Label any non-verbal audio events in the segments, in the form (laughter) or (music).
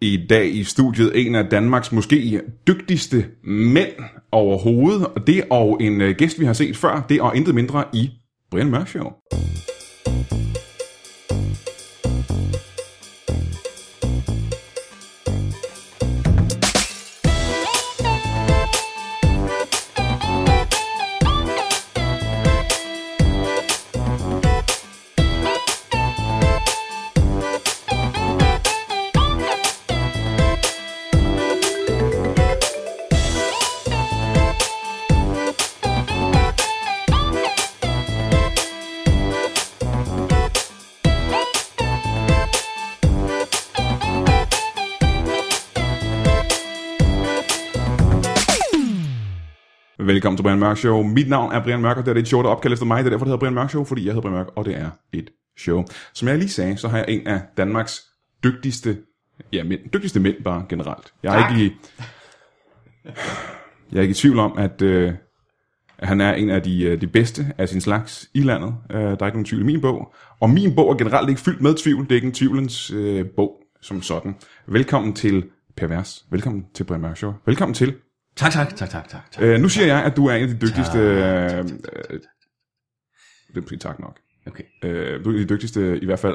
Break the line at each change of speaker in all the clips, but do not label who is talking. i dag i studiet en af Danmarks måske dygtigste mænd overhovedet, og det og en øh, gæst, vi har set før, det og intet mindre i Brian Mørk Show. Velkommen til Brian Mørk Show. Mit navn er Brian Mørk, og det er det show, der er opkaldt efter mig. Det er derfor, det hedder Brian Mørk Show, fordi jeg hedder Brian Mørk, og det er et show. Som jeg lige sagde, så har jeg en af Danmarks dygtigste, ja, mænd, dygtigste mænd bare generelt. Jeg er,
Tak.
ikke i, jeg er ikke i tvivl om, at, øh, at han er en af de, øh, de bedste af sin slags i landet. Øh, der er ikke nogen tvivl i min bog. Og min bog er generelt ikke fyldt med tvivl. Det er ikke en tvivlens øh, bog som sådan. Velkommen til Pervers. Velkommen til Brian Mørk Show. Velkommen til
Tak, tak, tak, tak, tak. tak.
Øh, nu siger jeg, at du er en af de dygtigste...
Tak,
øh,
tak, tak, tak,
øh, Det er måske tak nok.
Okay.
Øh, du er en af de dygtigste, i hvert fald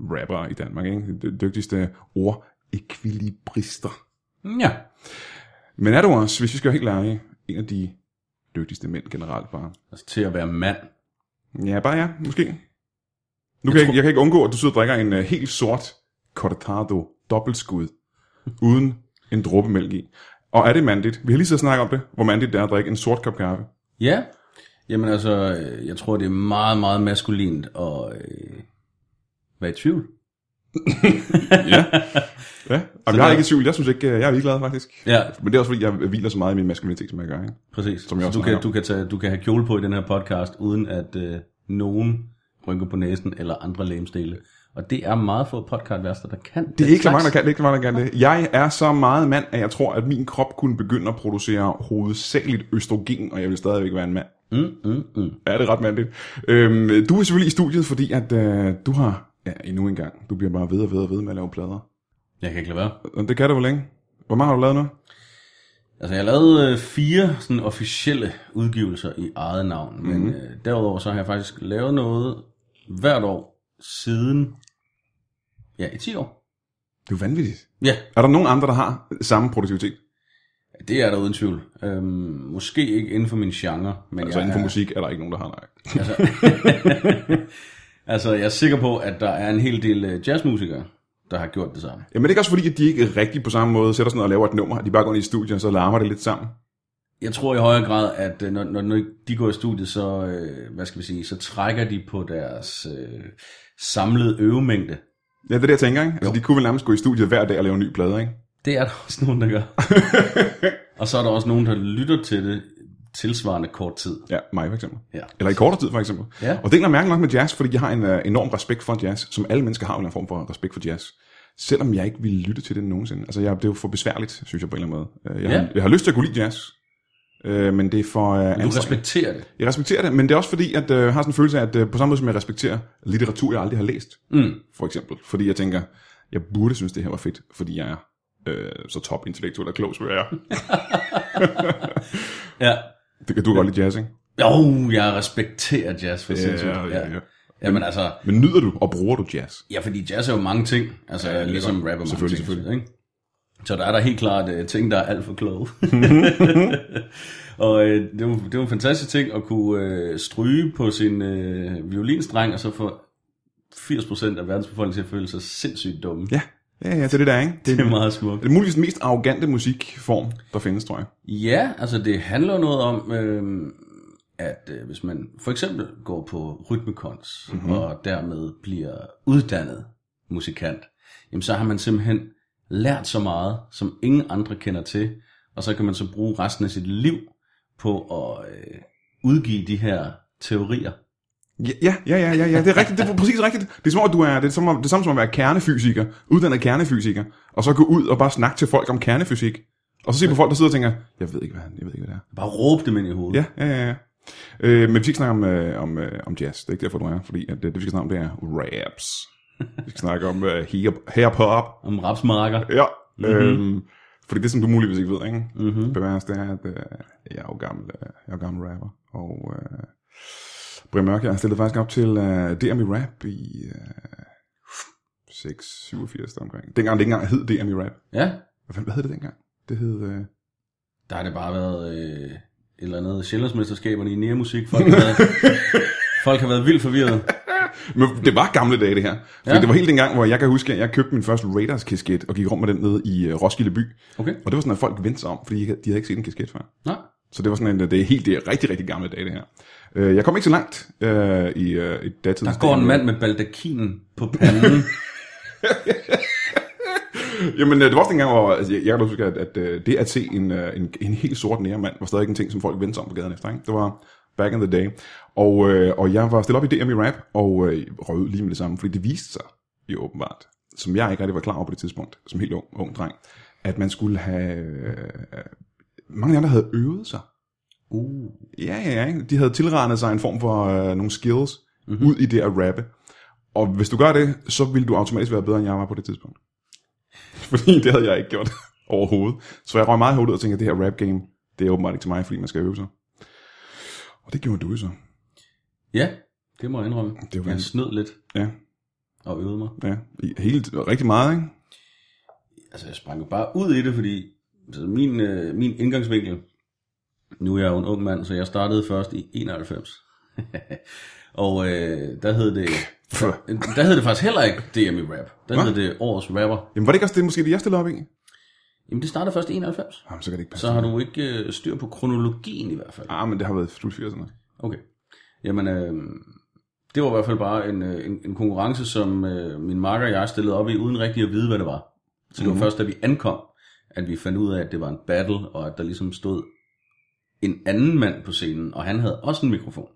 rapper i Danmark, ikke? De dygtigste ord ekvilibrister.
Ja.
Men er du også, hvis vi skal være helt ærlige, en af de dygtigste mænd generelt bare?
Altså til at være mand.
Ja, bare ja, måske. Nu kan jeg,
tror-
jeg, jeg kan ikke undgå, at du sidder og drikker en uh, helt sort cortado dobbeltskud, uden en dråbe mælk i. Og er det mandigt? Vi har lige siddet og snakket om det, hvor mandigt det er at drikke en sort kop kaffe.
Ja. Jamen altså, øh, jeg tror, det er meget, meget maskulint at øh, være i tvivl.
ja. ja. Og jeg er
der-
ikke i tvivl. Jeg synes ikke, øh, jeg er ligeglad faktisk.
Ja,
Men det er også fordi, jeg hviler så meget i min maskulinitet, som jeg gør. Ikke?
præcis.
Som jeg også
så du
snakker
kan,
om.
du, kan tage, du kan have kjole på i den her podcast, uden at øh, nogen rynker på næsen eller andre lægemstele. Og det er meget få podcastværster, der kan.
Det er ikke så mange, der kan det. er Ikke så mange, der kan det. Jeg er så meget mand, at jeg tror, at min krop kunne begynde at producere hovedsageligt østrogen, og jeg vil stadigvæk være en mand.
Mm, mm, mm.
Ja, det er ret mandligt. Øhm, du er selvfølgelig i studiet, fordi at øh, du har, ja, endnu en gang, du bliver bare ved og ved og ved med at lave plader.
Jeg kan ikke lade være.
Og det kan du vel ikke? Hvor meget har du lavet nu?
Altså, jeg lavede øh, fire sådan, officielle udgivelser i eget navn, mm-hmm.
Mhm.
men øh, derudover så har jeg faktisk lavet noget hvert år siden, ja, i 10 år.
Det er jo vanvittigt.
Ja,
Er der nogen andre, der har samme produktivitet?
det er der uden tvivl. Øhm, måske ikke inden for min genre, men
Altså
jeg
inden for
er,
musik er der ikke nogen, der har, nej.
altså, (laughs) jeg er sikker på, at der er en hel del øh, jazzmusikere, der har gjort det samme.
Jamen det er ikke også fordi, at de ikke rigtig på samme måde sætter sig ned og laver et nummer, de bare går ind i studiet, og så larmer det lidt sammen.
Jeg tror i højere grad, at øh, når, når, når de går i studiet, så, øh, hvad skal vi sige, så trækker de på deres øh, samlede øvemængde.
Ja, det er det, jeg tænker, ikke? Altså, de kunne vel nærmest gå i studiet hver dag og lave en ny plade, ikke?
Det er der også nogen, der
(laughs)
gør. og så er der også nogen, der lytter til det tilsvarende kort tid.
Ja, mig for eksempel.
Ja.
Eller i kortere tid, for eksempel.
Ja.
Og det er egentlig mærkeligt nok med jazz, fordi jeg har en uh, enorm respekt for jazz, som alle mennesker har en eller anden form for respekt for jazz. Selvom jeg ikke ville lytte til det nogensinde. Altså, jeg, det er jo for besværligt, synes jeg på en eller anden måde. Øh, Jeg,
Ja.
har, jeg har lyst til at kunne lide jazz, øh, men det er for... Uh,
Du respekterer det.
jeg respekterer det, men det er også fordi, at øh, jeg har sådan en følelse af, at øh, på samme måde som jeg respekterer litteratur, jeg aldrig har læst,
Mm.
for eksempel. Fordi jeg tænker, jeg burde synes, det her var fedt, fordi jeg er øh, så top intellektuel og klog, som jeg er.
Ja.
Det kan du godt lide jazz, ikke?
Jo, jeg respekterer jazz for sindssygt.
ja, ja, ja.
Jamen altså,
Men nyder du og bruger du jazz?
ja, fordi jazz er jo mange ting. Altså, ja, ligesom
godt.
rap er mange
Selvfølgelig,
ting.
selvfølgelig.
Ikke? Så der er der helt klart uh, ting, der er alt for kloge.
Mhm.
(laughs) og uh, det, var, det var en fantastisk ting at kunne uh, stryge på sin uh, violinstreng, og så få 80% af verdens befolkning til at føle sig sindssygt dumme.
Ja, ja, ja, det er det der, er, ikke?
Det er meget smukt.
det er muligvis den mest arrogante musikform, der findes, tror jeg.
Ja, altså det handler noget om, øh, at øh, hvis man for eksempel går på rytmekons, mm-hmm. og dermed bliver uddannet musikant, jamen så har man simpelthen lært så meget, som ingen andre kender til, og så kan man så bruge resten af sit liv på at øh, udgive de her teorier.
Ja, ja, ja, ja, ja, det er rigtigt. Det er præcis rigtigt. Det er som om, at du er, det er som om, det er samme som at være kernefysiker, uddannet kernefysiker, og så gå ud og bare snakke til folk om kernefysik. Og så se på folk, der sidder og tænker, jeg ved ikke, hvad, han, jeg ved ikke, hvad det er.
Bare råbe dem ind i hovedet.
Ja, ja, ja. ja. Øh, men vi skal ikke snakke om, øh, om, øh, om jazz. Det er ikke derfor, du er her, fordi at, det, det, vi skal snakke om, det er raps. Vi skal snakke om uh, her på op.
Om rapsmarker.
Ja. Mm-hmm. Øhm, fordi det, som du muligvis ikke ved, ikke?
Mhm.
Mm-hmm. Bevares, det er, at øh, jeg er jo gammel, øh, jeg er jo gammel rapper. Og øh, Brian Mørk, jeg stillede faktisk op til øh, DM i Rap i øh, 6, 87 der omkring. Dengang det ikke engang hed DM i Rap.
Ja,
Hvad, fanden- hvad hed det dengang? Det hed... Øh,
der har det bare været øh, et eller andet Sjællandsmesterskaberne i nærmusik. Folk har været, folk har været vildt forvirret.
men det var gamle dage, det her. Fordi ja.
Ja.
det var helt dengang, hvor jeg kan huske, at jeg købte min første Raiders-kasket og gik rundt med den nede i øh, Roskilde by.
Okay,
Og det var sådan, at folk vendte sig om, fordi de havde de havde ikke set en kasket før.
nå.
Så det var sådan en, øh, det er helt det er rigtig, rigtig gamle dage, det her. Øh, Jeg kom ikke så langt øh, i, øh, i datidens...
Der går en mand med baldakinen på panden.
Jamen, øh, det var også dengang, hvor altså, jeg, jeg kan da huske, at, at øh, det at se en, øh, en, en helt sort nærmand var stadig en ting, som folk vendte sig om på gaden efter. Ikke? Det var back in the day. Og, øh, og jeg var stillet op i DM i rap, og øh, røg ud lige med det samme, fordi det viste sig jo åbenbart, som jeg ikke rigtig var klar over på det tidspunkt, som helt ung, ung dreng, at man skulle have... Øh, mange af dem, der havde øvet sig
(laughs) Uh.
Ja, ja, ja. ikke? De havde tilregnet sig en form for øh, nogle skills
Mhm.
mm-hmm. ud i det at rappe. Og hvis du gør det, så vil du automatisk være bedre, end jeg var på det tidspunkt. (laughs) Fordi det havde jeg ikke gjort (laughs) overhovedet. Så jeg røg meget hårdt ud og tænkte, at det her rap game, det er åbenbart ikke til mig, fordi man skal øve sig. Og det gjorde du jo så.
Ja, det må jeg indrømme.
Det var-
Jeg snød lidt
Ja,
og øvede mig.
ja. I- Hele, rigtig meget, ikke?
altså jeg sprang jo bare ud i det, fordi altså, min, øh, min indgangsvinkel, nu er jeg jo en ung mand, så jeg startede først i 91. (laughs) og øh, der hed det,
Pff.
der hed det faktisk heller ikke DM i rap. Der
Hva?
hed det årets rapper.
Jamen var det ikke også det, måske det jeg stillede op i?
Jamen det startede først i 91.
Jamen, så kan det ikke passe.
Så har du ikke øh, styr på kronologien i hvert fald.
Ah, men det har været slut 80'erne.
Okay. Jamen, øh, det var i hvert fald bare en, øh, en, en konkurrence, som øh, min marker og jeg stillede op i, uden rigtig at vide, hvad det var. Så det
Mhm.
var først, da vi ankom, at vi fandt ud af, at det var en battle, og at der ligesom stod en anden mand på scenen, og han havde også en mikrofon.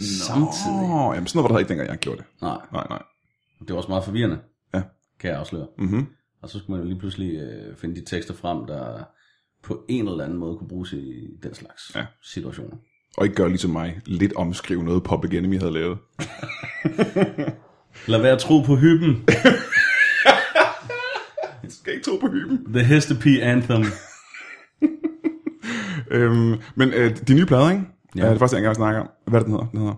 Nå. Samtidig.
Åh, jamen sådan noget var der ikke dengang, jeg gjorde det.
Nej,
Nej, nej.
det var også meget forvirrende,
Ja.
kan jeg afsløre.
Mm-hmm.
Og så skulle man jo lige pludselig øh, finde de tekster frem, der på en eller anden måde kunne bruges i den slags
Ja.
situationer.
Og ikke gøre ligesom mig, lidt omskrive noget Public Enemy havde lavet.
Lad være at tro på hyppen.
skal ikke tro på hyben.
The Hestepi Anthem.
Øhm, men øh, de nye plader, ikke? Ja.
Ja.
Er det første, jeg gerne vil snakke om. Hvad er det, den hedder? Den hedder?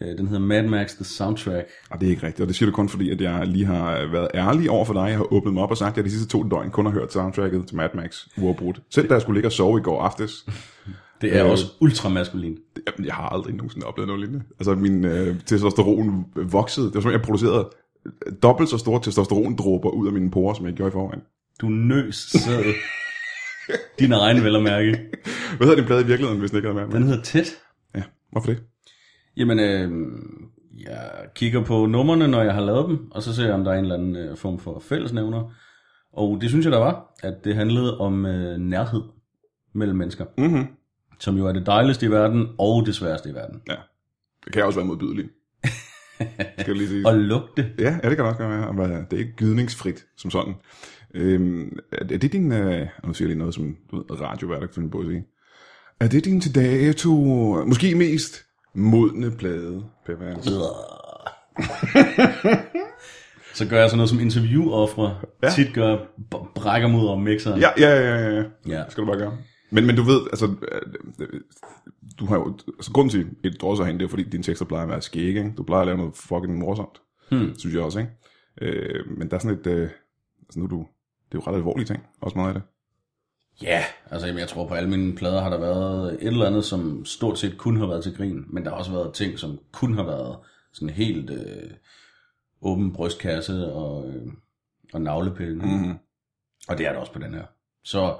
Øh, Den hedder Mad Max The Soundtrack.
Ah, det er ikke rigtigt, og det siger du kun fordi, at jeg lige har øh, været ærlig over for dig. Jeg har åbnet mig op og sagt, at jeg de sidste to døgn kun har hørt soundtracket til Mad Max uafbrudt. Selv da jeg skulle ligge og sove i går aftes,
Det er
Øh.
øh. også ultramaskulin.
jamen, jeg har aldrig nogensinde oplevet noget lignende. Altså, min øh, testosteron voksede. Det var som, om, jeg producerede øh, dobbelt så store testosterondråber ud af mine porer, som jeg gjorde i forvejen.
Du nøs sæd. Din egen vel at mærke.
Hvad hedder din plade i virkeligheden, hvis den ikke er med?
Den hedder Tæt.
Ja, hvorfor det?
Jamen, øh, jeg kigger på numrene, når jeg har lavet dem, og så ser jeg, om der er en eller anden øh, form for fællesnævner. Og det synes jeg, der var, at det handlede om øh, nærhed mellem mennesker,
Mm-hmm.
som jo er det dejligste i verden og det sværeste i verden.
Det kan også være modbydeligt. Skal jeg lige sige.
Og lugte.
Ja, ja, det kan det også godt være. Og hvad- Det er ikke gydningsfrit som sådan. Øhm, er er det din... Øh, og nu siger jeg lige noget, som du ved, radiovært kan finde på at sige. Er det din til dato... Måske mest modne plade, Pepper?
Så gør jeg sådan noget som interviewoffre.
Ja.
Ja. Tit gør jeg b- brækker mod om mixeren.
Ja, ja, ja, ja, ja.
ja.
Det skal du bare gøre. Men, men du ved, altså... øh, øh, Du har jo... Altså, grunden til, at du drosser hen, det er jo, fordi, dine tekster plejer at være skægge, ikke? Du plejer at lave noget fucking morsomt.
Hmm.
Synes jeg også, ikke? Øh, men der er sådan et... Øh, altså, nu er du... Det er jo ret alvorlige ting, også meget af det.
Ja, altså jamen, jeg tror på alle mine plader har der været et eller andet, som stort set kun har været til grin, men der har også været ting, som kun har været sådan helt øh, åben brystkasse og, øh, og navlepille. Mm.
Mm-hmm.
Og det er der også på den her. Så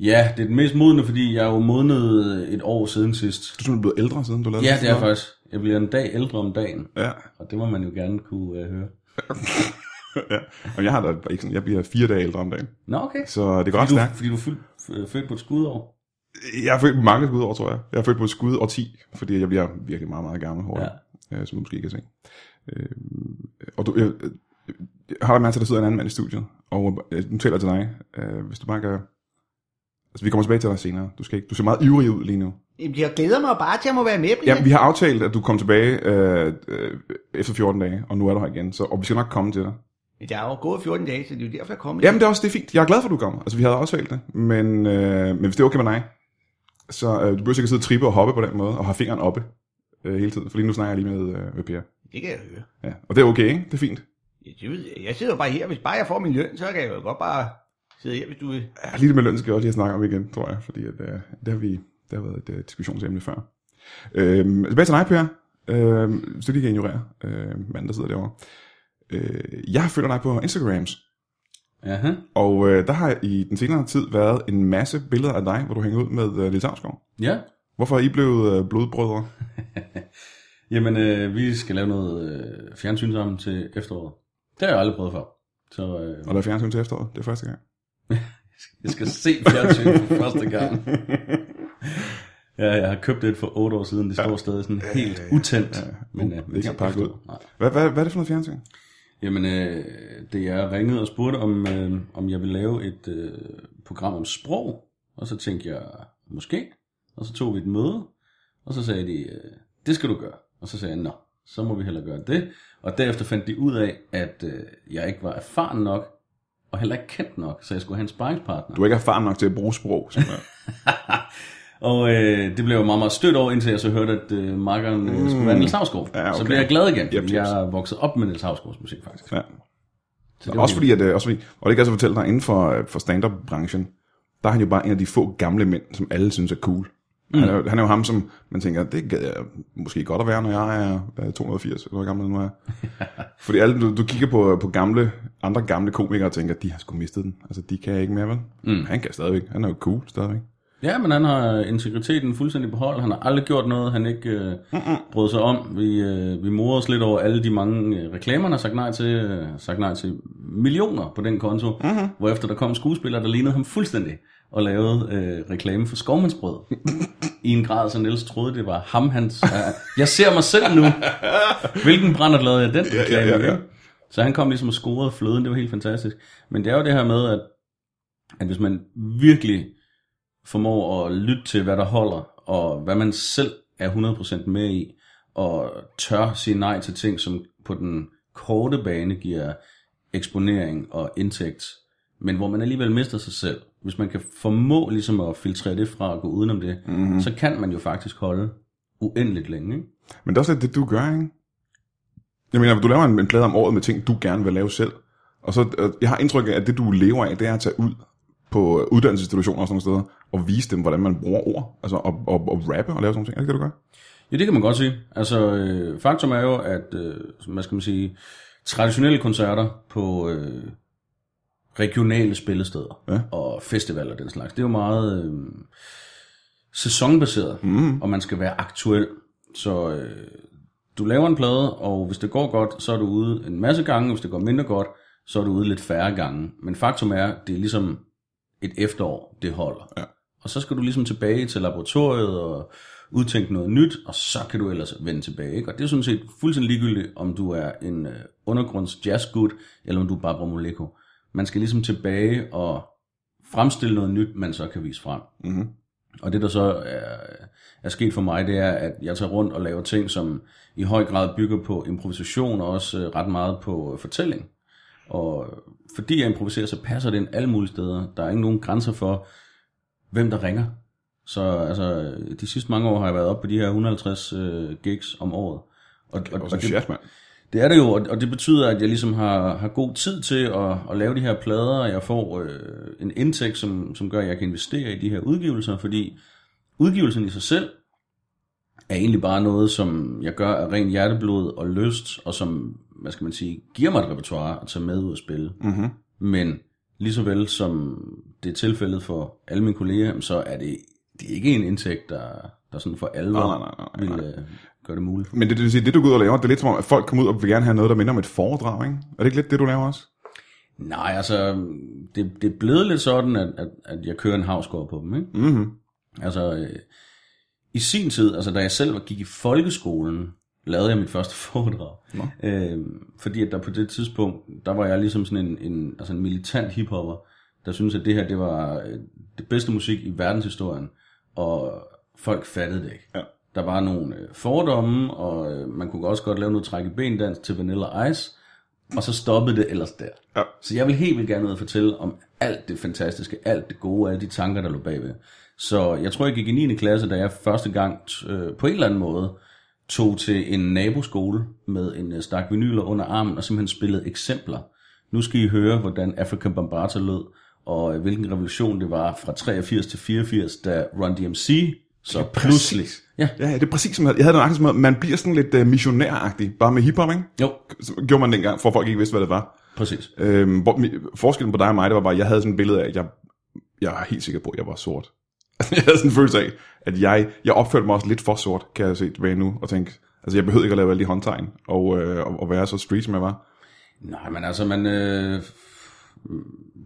ja, det er den mest modne, fordi jeg er jo modnet et år siden sidst.
Du er simpelthen blevet ældre, siden du lavede
Ja,
sidste
det er jeg
plade.
faktisk. Jeg bliver en dag ældre om dagen,
Ja, (laughs)
og det må man jo gerne kunne øh, høre.
ja. Jamen, jeg, har da ikke sådan, jeg bliver fire dage ældre om dagen,
Nå, okay.
så det går ret
Fordi du,
stærkt.
fordi du er fuld, f- øh, født på et skudår.
Jeg har født på mange skud over, tror jeg. Jeg har født på et skud og 10, fordi jeg bliver virkelig meget, meget gammel hurtigt, ja. som du måske kan se. Øh, og du, jeg, jeg har da mærke til, at der sidder en anden mand i studiet, og øh, nu taler jeg til dig. Øh, hvis du bare kan Altså, vi kommer tilbage til dig senere. Du, skal ikke, du ser meget ivrig ud lige nu.
Jamen, Jeg glæder mig bare til, at jeg må være med, Brian.
Ja, vi har aftalt, at du kommer tilbage øh, øh, efter 14 dage, og nu er du her igen, så, og vi skal nok komme til dig.
Men Jeg har jo gået 14 dage, så det er jo derfor, jeg kommer.
Jamen, det er også det er fint. Jeg er glad for, at du kommer. Altså, vi havde aftalt det, men, øh, men hvis det er okay med dig, så øh, du behøver ikke at sidde og trippe og hoppe på den måde, og have fingeren oppe øh, hele tiden, for lige nu snakker jeg lige med, øh, med Per.
Det kan jeg høre.
Ja. Og det er okay, ikke? Det er fint.
Ja, det ved Jeg Jeg sidder jo bare her. Hvis bare jeg får min løn, så kan jeg jo godt bare sidde her, hvis du vil.
Ja, lige det med løn skal jeg også lige snakke om igen, tror jeg, fordi at, øh, det, har vi, det har været et øh, diskussionsemne før. Øhm, tilbage til dig, Per. Øhm, så lige kan ignorere øh, manden, der sidder derovre. Øh, jeg følger dig på Instagrams,
Aha.
og øh, der har i den senere tid været en masse billeder af dig, hvor du hænger ud med øh, Lille Savsgaard.
Ja.
Hvorfor er I blevet øh, blodbrødre?
Jamen, øh, vi skal lave noget øh, fjernsyn sammen til efteråret. Det har jeg aldrig prøvet før. Så øh,
Og der er fjernsyn til efteråret, det er første gang.
jeg skal se fjernsyn
(laughs)
for første gang. Ja, jeg har købt et for otte år siden. Det står stadig sådan helt utændt. Men,
det er ikke
til
engang pakket ud.
efteråret. Nej.
Hvad, hvad, hvad er det for noget fjernsyn?
Jamen, øh, det jeg ringede og spurgte, om, øh, om jeg ville lave et øh, program om sprog, og så tænkte jeg, måske, og så tog vi et møde, og så sagde de, øh, det skal du gøre, og så sagde jeg, nå, så må vi hellere gøre det, og derefter fandt de ud af, at øh, jeg ikke var erfaren nok, og heller ikke kendt nok, så jeg skulle have en sparringspartner.
Du er ikke erfaren nok til at bruge sprog. Som, (laughs) øh,
Og øh, det blev jeg meget, meget stødt over, indtil jeg så hørte, at øh, makkeren øh, skulle være Niels Havsgaard.
Mm. Ja, okay.
Så blev jeg glad igen,
Yep,
fordi
yep.
jeg er vokset op med Niels Havsgaards musik, faktisk.
ja.
Så
Også fordi, at, øh, også fordi, og det kan jeg så fortælle dig, inden for, øh, for stand-up-branchen, der er han jo bare en af de få gamle mænd, som alle synes er cool. Mm. Han, er, jo- han er jo ham, som man tænker, det gad jeg måske godt at være, når jeg er øh, 280, eller hvor gammel (laughs) nu er. fordi alle, du, du kigger på, øh, på gamle, andre gamle komikere og tænker, de har sgu mistet den. Altså, de kan ikke mere, vel? Mm. Han kan stadigvæk. Han er jo cool stadigvæk.
Ja, men han har integriteten fuldstændig på hold. Han har aldrig gjort noget, han ikke øh, brød sig om. Vi, øh, vi morer os lidt over alle de mange øh, reklamer, han har sagt nej til. Øh, sagt nej til millioner på den konto. Mm-hmm. Hvorefter der kom skuespillere, der lignede ham fuldstændig. Og lavede øh, reklame for skovmandsbrød. I en grad, så Niels troede, det var ham, hans... Øh, jeg ser mig selv nu. Hvilken brændert lavede jeg den reklame?
ja, ja.
ikke? Så han kom ligesom og scorede fløden. Det var helt fantastisk. Men det er jo det her med, at, at hvis man virkelig formår at lytte til, hvad der holder, og hvad man selv er 100% med i, og tør sige nej til ting, som på den korte bane giver eksponering og indtægt, men hvor man alligevel mister sig selv. Hvis man kan formå ligesom at filtrere det fra og gå udenom det, mm-hmm. så kan man jo faktisk holde uendeligt længe. Ikke?
Men det er også lidt det, du gør, ikke? Jeg mener, du laver en, en plade om året med ting, du gerne vil lave selv. Og så, øh, jeg har indtryk af, at det, du lever af, det er at tage ud på øh, uddannelsesinstitutioner og sådan nogle steder, og vise dem, hvordan man bruger ord, altså og, og, og rappe og lave sådan nogle ting. Er det ikke det, du gør?
Ja, det kan man godt sige. Altså, øh, faktum er jo, at, øh, som- hvad skal man sige, traditionelle koncerter på øh, regionale spillesteder
Ja.
og festivaler og den slags, det er jo meget øh, sæsonbaseret, mm. og man skal være aktuel. Så øh, du laver en plade, og hvis det går godt, så er du ude en masse gange, hvis det går mindre godt, så er du ude lidt færre gange. Men faktum er, det er ligesom et efterår, det holder. Ja. Og så skal du ligesom tilbage til laboratoriet og udtænke noget nyt, og så kan du ellers vende tilbage. Ikke? Og det er sådan set fuldstændig ligegyldigt, om du er en øh, undergrunds jazzgud, eller om du er Barbara Moleko. Man skal ligesom tilbage og fremstille noget nyt, man så kan vise frem.
Mhm.
Og det, der så er, er sket for mig, det er, at jeg tager rundt og laver ting, som i høj grad bygger på improvisation, og også øh, ret meget på øh, fortælling. Og øh, fordi jeg improviserer, så passer det ind alle mulige steder. Der er ikke nogen grænser for, hvem der ringer. Så altså, de sidste mange år har jeg været oppe på de her 150 øh, gigs om året. Og, og,
Og
og
sådan
det,
shit, mand.
det er det jo, og og det betyder, at jeg ligesom har, har god tid til at, at lave de her plader, og jeg får øh, en indtægt, som, som gør, at jeg kan investere i de her udgivelser, fordi udgivelsen i sig selv er egentlig bare noget, som jeg gør af ren hjerteblod og lyst, og som, hvad skal man sige, giver mig et repertoire at tage med ud og spille.
Mm-hmm.
Men lige så vel som det er tilfældet for alle mine kolleger, jamen, så er det, det er ikke en indtægt, der, der sådan for alvor
Nej, nej, nej, nej, nej.
vil øh, gøre det muligt.
Men det, det vil sige, det du går ud og laver, det er lidt som om, at folk kommer ud og vil gerne have noget, der minder om et foredrag, ikke? Er det ikke lidt det, du laver også?
Nej, altså, det, det er blevet lidt sådan, at, at, at jeg kører en havsgård på dem, ikke?
Mm-hmm.
Altså, øh, i sin tid, altså da jeg selv var- gik i folkeskolen, lavede jeg mit første (laughs) foredrag. Øh, fordi at der på det tidspunkt, der var jeg ligesom sådan en, en, altså en militant hiphopper, der synes at det her det var øh, det bedste musik i verdenshistorien, og folk fattede det ikke.
Ja.
Der var nogle øh, fordomme, og øh, man kunne også godt lave noget trække bendans til Vanilla Ice, og så stoppede det ellers der.
Ja.
Så jeg vil helt vildt gerne ud og fortælle om alt det fantastiske, alt det gode, alle de tanker, der lå bagved. Så jeg tror, jeg gik i 9. klasse, da jeg første gang øh, på en eller anden måde tog til en naboskole med en øh, stak vinyler under armen og simpelthen spillede eksempler. Nu skal I høre, hvordan African Bambata lød, og øh, hvilken revolution det var fra 83 til 84, da Run DMC så pludselig... Ja,
Ja, ja, det er præcis som jeg jeg havde noget som hedder, man bliver sådan lidt uh, missionæragtig, bare med hiphop, ikke?
jo,
Så gjorde man dengang, for folk ikke vidste, hvad det var.
præcis.
Øhm, hvor, mi- forskellen på dig og mig, det var bare, at jeg havde sådan et billede af, at jeg, jeg er helt sikker på, at jeg var sort. (laughs) Altså, jeg havde sådan en følelse af, at jeg, jeg opførte mig også lidt for sort, kan jeg se tilbage nu, og tænke, altså jeg behøvede ikke at lave alle de håndtegn, og, øh, og, og være så street, som jeg var.
Nej, men altså, man... Øh,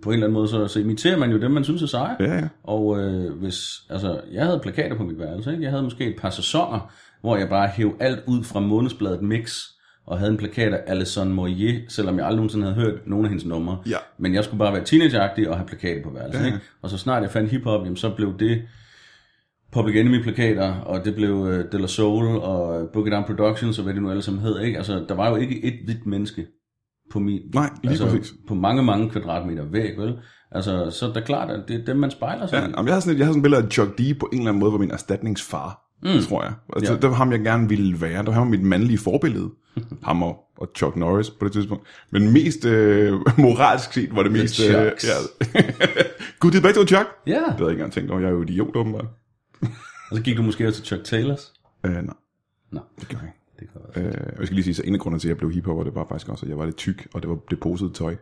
på en eller anden måde, så, så imiterer man jo dem, man synes er seje.
Ja, ja.
Og øh, hvis, altså, jeg havde plakater på mit værelse, ikke? Jeg havde måske et par sæsoner, hvor jeg bare hæv alt ud fra månedsbladet Mix, og havde en plakat af Alison Moyer, selvom jeg aldrig nogensinde havde hørt nogen af hendes numre.
Ja.
Men jeg skulle bare være teenageagtig og have plakater på værelset. Ja. Ikke? Og så snart jeg fandt hiphop, jamen, så blev det Public Enemy plakater, og det blev øh, De La Soul og Book It On Productions, og hvad det nu alle sammen hed. Ikke? Altså, der var jo ikke et hvidt menneske på min,
Nej, lige
altså,
præcis.
på mange, mange kvadratmeter væg, vel? Altså, så er det klart, at det er dem, man spejler sig
Ja,
i.
jamen, jeg havde sådan et, jeg havde sådan et billede af Chuck D på en eller anden måde var min erstatningsfar, mm. tror jeg. Altså,
Ja.
ja. Det var ham, jeg gerne ville være. Det var ham mit mandlige (laughs) forbillede. ham og, og Chuck Norris på det tidspunkt. Men mest øh, (laughs) moralsk set var det mest... Øh, ja. (laughs)
Chucks.
Gud, det er begge to Chuck.
Ja,
Det havde jeg ikke engang tænkt over. Jeg er jo idiot, åbenbart.
og så gik du måske også til Chuck Taylors.
Øh, nej,
Nå,
det gjorde jeg ikke.
det kan være.
Øh, og jeg skal lige sige, så en af grundene til, at jeg blev hiphopper, det var faktisk også, at jeg var lidt tyk, og det var det posede tøj.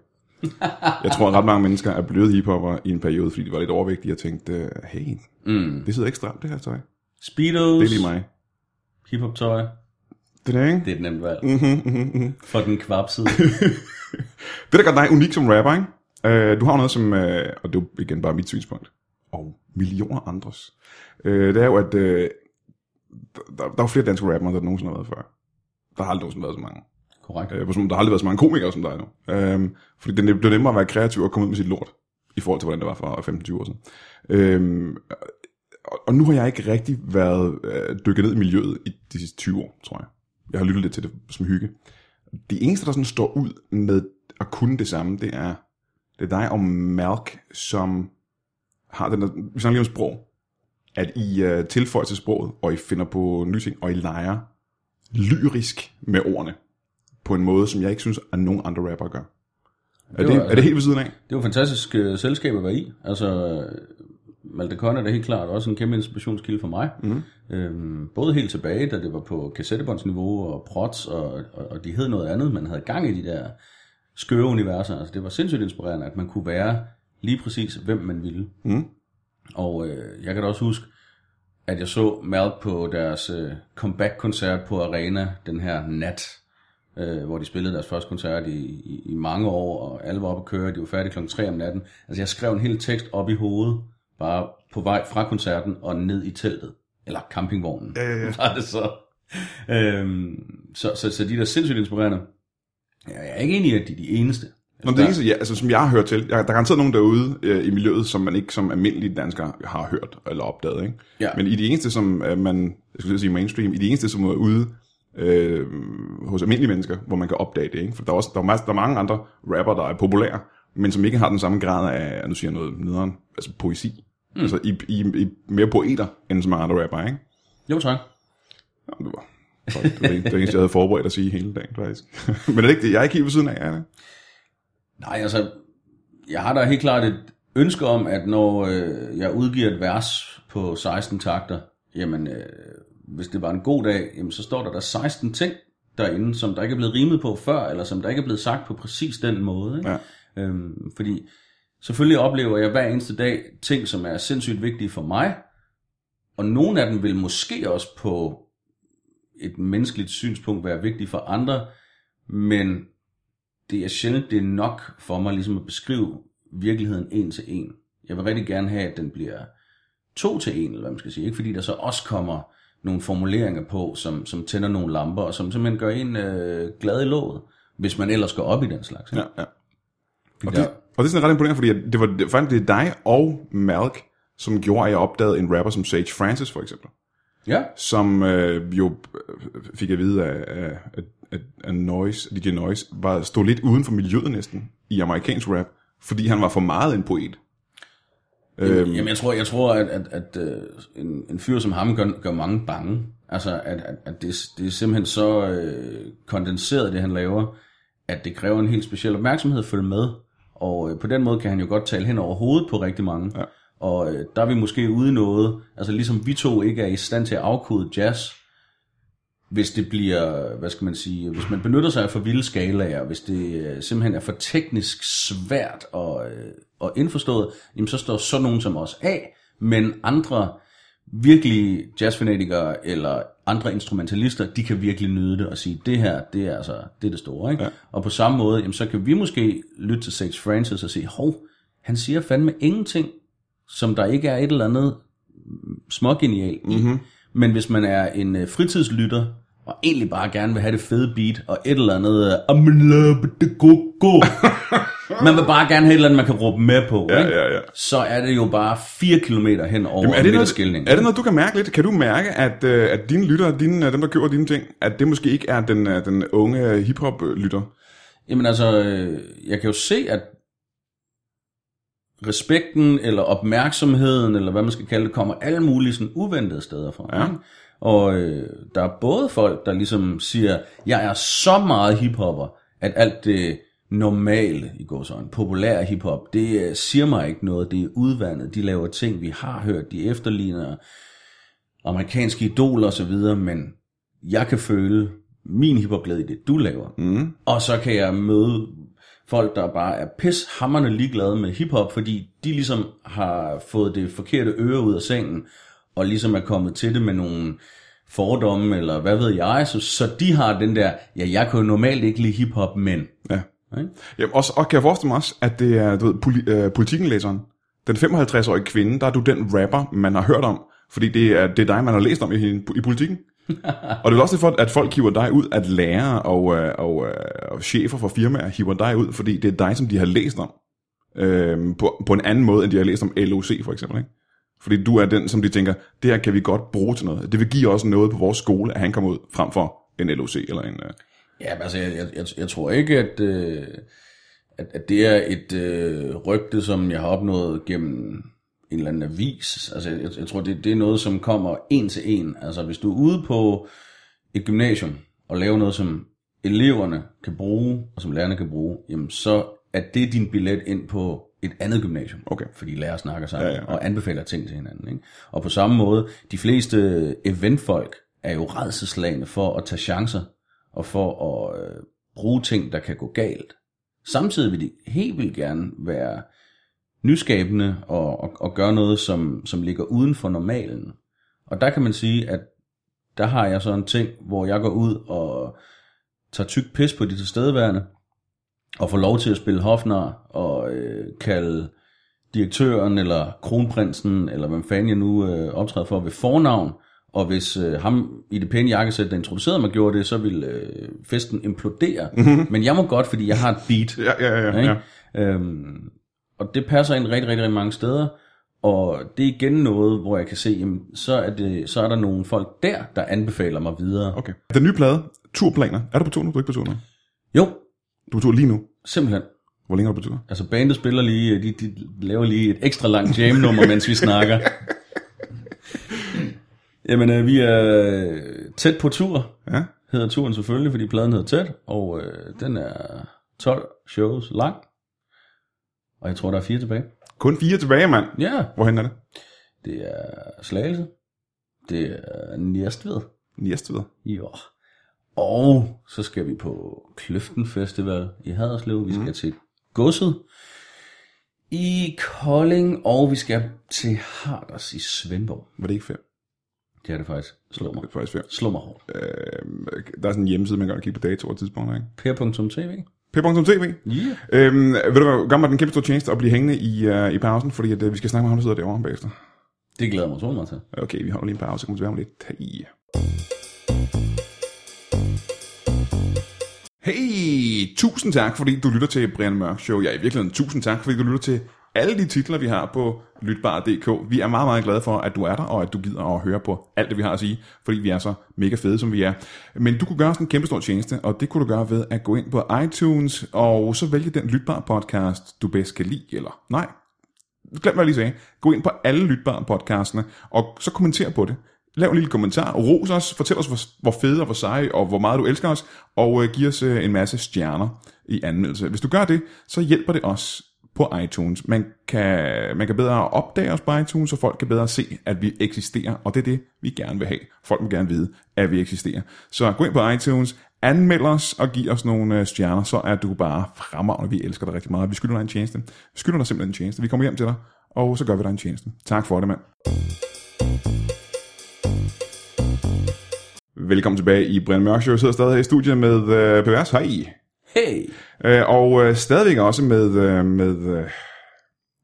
jeg tror, at ret mange mennesker er blevet hiphopper i en periode, fordi de var lidt overvægtige og tænkte, øh, hey,
Mm.
det sidder ikke stramt, det her tøj. Det
Speedos,
er lige mig.
hiphop-tøj,
Det er det, ikke?
det er et nemt valg.
Mhm, mhm, mhm.
For den kvapsede.
Det, der gør dig unik som rapper, ikke? Øh, du har noget som, øh, og det er jo igen bare mit synspunkt, og millioner andres, øh, det er jo, at øh, der, der er jo flere danske rappere, end der nogensinde har været før. Der har aldrig nogensinde været så mange.
Korrekt.
Øh, på sådan- der har aldrig været så mange komikere som dig nu. Øh, fordi det er nem- det er nemmere at være kreativ og komme ud med sit lort, i forhold til, hvordan det var for 15-20 år siden. Øh, og, og nu har jeg ikke rigtig været øh, dykket ned i miljøet i de sidste 20 år, tror jeg. Jeg har lyttet lidt til det som hygge. De eneste, der sådan står ud med at kunne det samme, det er, det er dig og Malk, som har den der, vi snakker lige om sprog, at I øh, tilføjer til sproget, og I finder på nye ting, og I leger lyrisk med ordene, på en måde, som jeg ikke synes, at nogen andre rapper gør. Er
Det
det,
var
er det helt ved siden af?
Det var et fantastisk øh, selskab at være i. Altså, øh, Malte Conn er da helt klart også en kæmpe inspirationskilde for mig. Mm. Øhm, både helt tilbage, da det var på kassettebåndsniveau og prots, og, og, og de hed noget andet, man havde gang i de der skøre universer. Altså, det var sindssygt inspirerende, at man kunne være lige præcis, hvem man ville.
Mm.
Og øh, jeg kan da også huske, at jeg så Malk på deres øh, comeback-koncert på Arena den her nat, øh, hvor de spillede deres første koncert i, i, i mange år, og alle var oppe at køre, de var færdige kl. 3 om natten. Altså jeg skrev en hel tekst op i hovedet, bare på vej fra koncerten og ned i teltet, eller campingvognen, ja, ja, ja. var det så. Øhm, så, så. Så de er da sindssygt inspirerende. Jeg er ikke enig i, at de er de eneste.
Nå, det eneste, ja, altså, som jeg har hørt til, jeg, der er garanteret nogen derude øh, i miljøet, som man ikke som almindelige danskere har hørt eller opdaget. Ikke?
Ja.
Men i det eneste, som øh, man, jeg skulle til at sige mainstream, i det eneste, som er ude øh, hos almindelige mennesker, hvor man kan opdage det. Ikke? For der er, også, der, er, mas- der er mange andre rapper, der er populære, men som ikke har den samme grad af, nu siger jeg noget nederen, altså poesi. Mm. Altså I, I, I, er mere poeter, end så mange andre rapper, ikke?
Jo tak.
Jamen, det var, fuck, det var det eneste, jeg havde forberedt at sige hele dagen, faktisk. (laughs) men er det ikke det? Jeg er ikke helt ved siden af, er det?
Nej, altså, jeg har da helt klart et ønske om, at når øh, jeg udgiver et vers på 16 takter, jamen, øh, hvis det var en god dag, jamen, så står der der 16 ting derinde, som der ikke er blevet rimet på før, eller som der ikke er blevet sagt på præcis den måde. Ikke?
Ja.
Øhm, fordi selvfølgelig oplever jeg hver eneste dag ting, som er sindssygt vigtige for mig, og nogle af dem vil måske også på et menneskeligt synspunkt være vigtige for andre, men det er sjældent, det er nok for mig ligesom at beskrive virkeligheden en til en. Jeg vil rigtig gerne have, at den bliver to til en, eller hvad man skal sige. Ikke fordi der så også kommer nogle formuleringer på, som, som tænder nogle lamper, og som simpelthen gør en øh, glad i låget, hvis man ellers går op i den slags. ikke?
ja.
Fordi
Og
der,
det, Og det er sådan ret imponerende, fordi at det var det, var faktisk det er dig og Malk, som gjorde, at jeg opdagede en rapper som Sage Francis, for eksempel.
Ja.
Som øh, jo øh, fik at vide, at, at, at, at Noise, DJ Noise var, stod lidt uden for miljøet næsten i amerikansk rap, fordi han var for meget en poet.
Øhm. Jamen, jeg tror, jeg tror at, at, at øh, en, en fyr som ham gør, gør mange bange. Altså, at, at, at det, det er simpelthen så øh, kondenseret, det han laver, at det kræver en helt speciel opmærksomhed at følge med. Og øh, på den måde kan han jo godt tale hen over hovedet på rigtig mange. Ja. Og øh, der er vi måske ude i noget, altså ligesom vi to ikke er i stand til at afkode jazz, hvis det bliver, hvad skal man sige, hvis man benytter sig af for vilde skalaer, hvis det øh, simpelthen er for teknisk svært og, øh, og indforstået, jamen så står sådan nogen som os af, men andre virkelig jazzfanatikere eller andre instrumentalister, de kan virkelig nyde det og sige, det her, det er altså, det er det store, ikke? Ja. Og på samme måde, jamen så kan vi måske lytte til Six Francis og sige, hov, han siger fandme ingenting, som der ikke er et eller andet smågenial i. Mm-hmm.
Mhm.
Men hvis man er en øh, fritidslytter, og egentlig bare gerne vil have det fede beat, og et eller andet, øh, I'm in love with the
(laughs)
go-go. man vil bare gerne have et eller andet, man kan råbe med på, ja, ikke?
ja, ja.
så er det jo bare 4 km hen over
Jamen, er, det noget,
skilning.
er det noget, du kan mærke lidt? Kan du mærke, at, øh, at dine lyttere, dine, øh, dem der køber dine ting, at det måske ikke er den, øh, den unge øh, hiphop-lytter?
Jamen altså, øh, jeg kan jo se, at respekten eller opmærksomheden, eller hvad man skal kalde det, kommer alle mulige sådan uventede steder fra. Ja. Og øh, der er både folk, der ligesom siger, jeg er så meget hiphopper, at alt det normale, i går sådan, populære hiphop, det øh, siger mig ikke noget, det er udvandet, de laver ting, vi har hørt, de efterligner amerikanske idoler osv., men jeg kan føle min hiphopglæde i det, du laver. Mm. Og så kan jeg møde folk, der bare er pishammerne ligeglade med hiphop, fordi de ligesom har fået det forkerte øre ud af sengen, og ligesom er kommet til det med nogle fordomme, eller hvad ved jeg, så, så de har den der, ja, jeg kan jo normalt ikke lide hiphop, men...
Ja.
Ikke?
Jamen, også, og kan jeg forestille mig også, at det er du ved, poli, øh, politikenlæseren, den 55-årige kvinde, der er du den rapper, man har hørt om, fordi det er, det er dig, man har læst om i, hende- i politikken. og det er også derfor, at folk hiver dig ud, at lærere og, øh, og, øh, og chefer fra firmaer hiver dig ud, fordi det er dig, som de har læst om. Øhm, på, på en anden måde, end de har læst om LOC for eksempel. Ikke? Fordi du er den, som de tænker, det her kan vi godt bruge til noget. Det vil give os noget på vores skole, at han kommer ud, frem for en LOC eller en... Øh,
Ja, men altså, jeg, jeg, jeg, jeg tror ikke, at, øh, at, at det er et øh, rygte, som jeg har opnået gennem en eller anden avis. Altså, jeg, jeg tror, det, det er noget, som kommer en til en. Altså, hvis du er ude på et gymnasium og laver noget, som eleverne kan bruge, og som lærerne kan bruge, jamen så er det din billet ind på et andet gymnasium.
Okay.
Fordi lærere snakker sammen
Ja, ja, ja.
og anbefaler ting til hinanden. Ikke? Og på samme måde, de fleste eventfolk er jo redselslagende for at tage chancer og for at øh, bruge ting, der kan gå galt. Samtidig vil de helt vildt gerne være nyskabende og, og, og gøre noget, som, som ligger uden for normalen. Og der kan man sige, at der har jeg så en ting, hvor jeg går ud og tager tyk pis på de tilstedeværende, og får lov til at spille hofnar og øh, kalde direktøren eller kronprinsen, eller hvem fanden jeg nu øh, optræder for, ved fornavn. Og hvis øh, ham i det pæne jakkesæt, der introducerede mig, gjorde det, så ville øh, festen implodere. Mm-hmm. Men jeg må godt, fordi jeg har et beat.
ja, ja, ja, ja.
Ikke? Øhm, og det passer ind rigtig, rigtig, rigtig mange steder. Og det er igen noget, hvor jeg kan se, jamen, så, er det, så er der nogle folk der, der anbefaler mig videre.
Okay. Den nye plade, Turplaner. Er du på tur nu? Du er ikke på tur nu.
Jo,
Du er på tur lige nu.
simpelthen.
Hvor længe er du på tur?
Altså bandet spiller lige, de, de laver lige et ekstra
(laughs)
langt jam-nummer, mens vi snakker. Jamen, øh, vi er øh, tæt på tur,
Ja.
hedder turen selvfølgelig, fordi pladen hedder tæt, og øh, den er 12 shows lang. Og jeg tror, der er fire tilbage.
Kun fire tilbage, mand.
Ja,
Hvorhen er det?
det er Slagelse, det er Næstved,
Næstved.
jo. Og så skal vi på Kløften Festival i Haderslev. Vi skal mm. til Godset i Kolding, og vi skal til Harders i Svendborg.
Var det ikke fem?
Det er det faktisk. Slå mig.
Det er faktisk fem.
Slå mig hårdt.
Øh, der er sådan en hjemmeside, man kan godt kigge på datoer og tidspunkter, ikke?
Per.tv.
p.tv.
Yeah.
Øhm, ved du hvad, gør mig den kæmpe store tjeneste at blive hængende i, øh, i pausen, fordi at, øh, vi skal snakke med ham, der sidder derovre bagefter.
Det glæder jeg mig så meget til.
Okay, vi holder lige en pause, så kommer vi tilbage om lidt. Hey. Hey, sige tusind tak, fordi du lytter til Brian Mørk Show. Ja, i virkeligheden tusind tak, fordi du lytter til alle de titler, vi har på lytbar.dk. Vi er meget, meget glade for, at du er der, og at du gider at høre på alt det, vi har at sige, fordi vi er så mega fede, som vi er. Men du kunne gøre os en kæmpe stor tjeneste, og det kunne du gøre ved at gå ind på iTunes, og så vælge den lytbar podcast, du bedst kan lide, eller nej, glem hvad jeg lige sagde. Gå ind på alle lytbare podcastene, og så kommenter på det. Lav en lille kommentar, ros os, fortæl os, hvor, hvor fede og hvor seje, og hvor meget du elsker os, og øh, giv os øh, en masse stjerner i anmeldelse. Hvis du gør det, så hjælper det os på iTunes. Man kan, man kan bedre opdage os på iTunes, og folk kan bedre se, at vi eksisterer, og det er det, vi gerne vil have. Folk vil gerne vide, at vi eksisterer. Så gå ind på iTunes, anmeld os og giv os nogle øh, stjerner, så er du bare fremragende. Vi elsker dig rigtig meget. Vi skylder dig en tjeneste. Vi skylder dig simpelthen en tjeneste. Vi kommer hjem til dig, og så gør vi dig en tjeneste. Tak for det, mand. Velkommen tilbage i Brian Mørk Show. Jeg sidder stadig her i studiet med øh, Pervers. Hej.
Hey!
Øh, og øh, stadigvæk også med, øh, med, øh,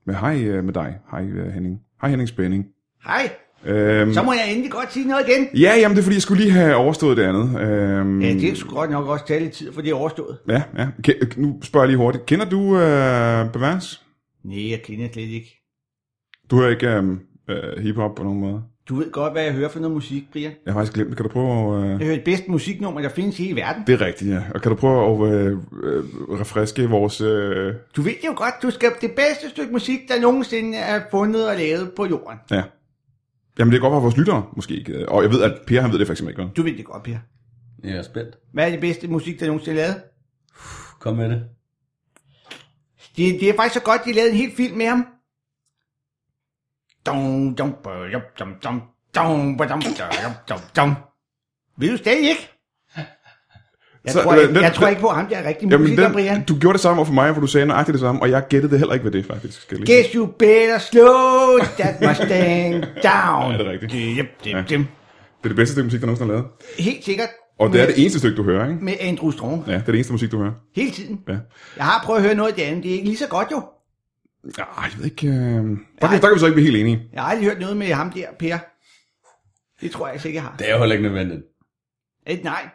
med hej øh, med dig. Hej øh, Henning. Hej Henning Spænding.
Hej,
Øhm,
så må jeg endelig godt sige noget igen.
ja, jamen det er fordi, jeg skulle lige have overstået det andet. Øhm,
Ja, det skulle godt nok også tage lidt tid, for det er overstået.
Ja, ja. Ke- nu spørger jeg lige hurtigt. Kender du øh, Bevers?
Nej, jeg kender slet ikke.
Du hører ikke øhm, øh, hiphop på nogen måde.
Du ved godt, hvad jeg hører for noget musik, Brian.
Jeg har faktisk glemt det. Kan du prøve at... Øh...
Jeg hører det bedste musiknummer, der findes i hele verden.
Det er rigtigt, ja. Og kan du prøve at øh, øh, refreske vores... Øh...
Du ved jo godt, du skal det bedste stykke musik, der nogensinde er fundet og lavet på jorden.
Ja. Jamen det er godt for vores lyttere, måske ikke. Og jeg ved, at Per han ved det faktisk ikke. vel?
Du ved det godt, Per.
Jeg er spændt.
Hvad er det bedste musik, der nogensinde er lavet?
Kom med det.
Det, det er faktisk så godt, de lavede en hel film med ham. Dum, dum, dum, dum, dum, dum, dum, dum, dum, dum. Vil du stadig ikke? Jeg,
Så,
så, tror,
øh,
jeg,
den-
jeg tror
den-
ikke på ham, der er rigtig
Jamen,
musiker, Brian.
den, du gjorde det samme over for mig, hvor du sagde nøjagtigt det samme, og jeg gættede det heller ikke, hvad det er, faktisk. Skal jeg lige.
Guess you better slow that Mustang down.
Ja, det er rigtigt.
Dim, dim,
Ja.
dim.
Det er det bedste stykke musik, der nogensinde er lavet.
Helt sikkert
Og det er det eneste stykke, du hører, ikke?
med Andrew Strong.
Ja, det er det eneste musik, du hører.
Hele tiden.
Ja.
Jeg har prøvet at høre noget af det andet. Det er ikke lige så godt jo.
Ah, jeg ved ikke... Øh... Der, kan, der kan vi så ikke blive helt enige.
Jeg har aldrig hørt noget med ham der, Per. Det tror jeg altså ikke, jeg har.
Det er jo heller ikke nødvendigt.
Et nej.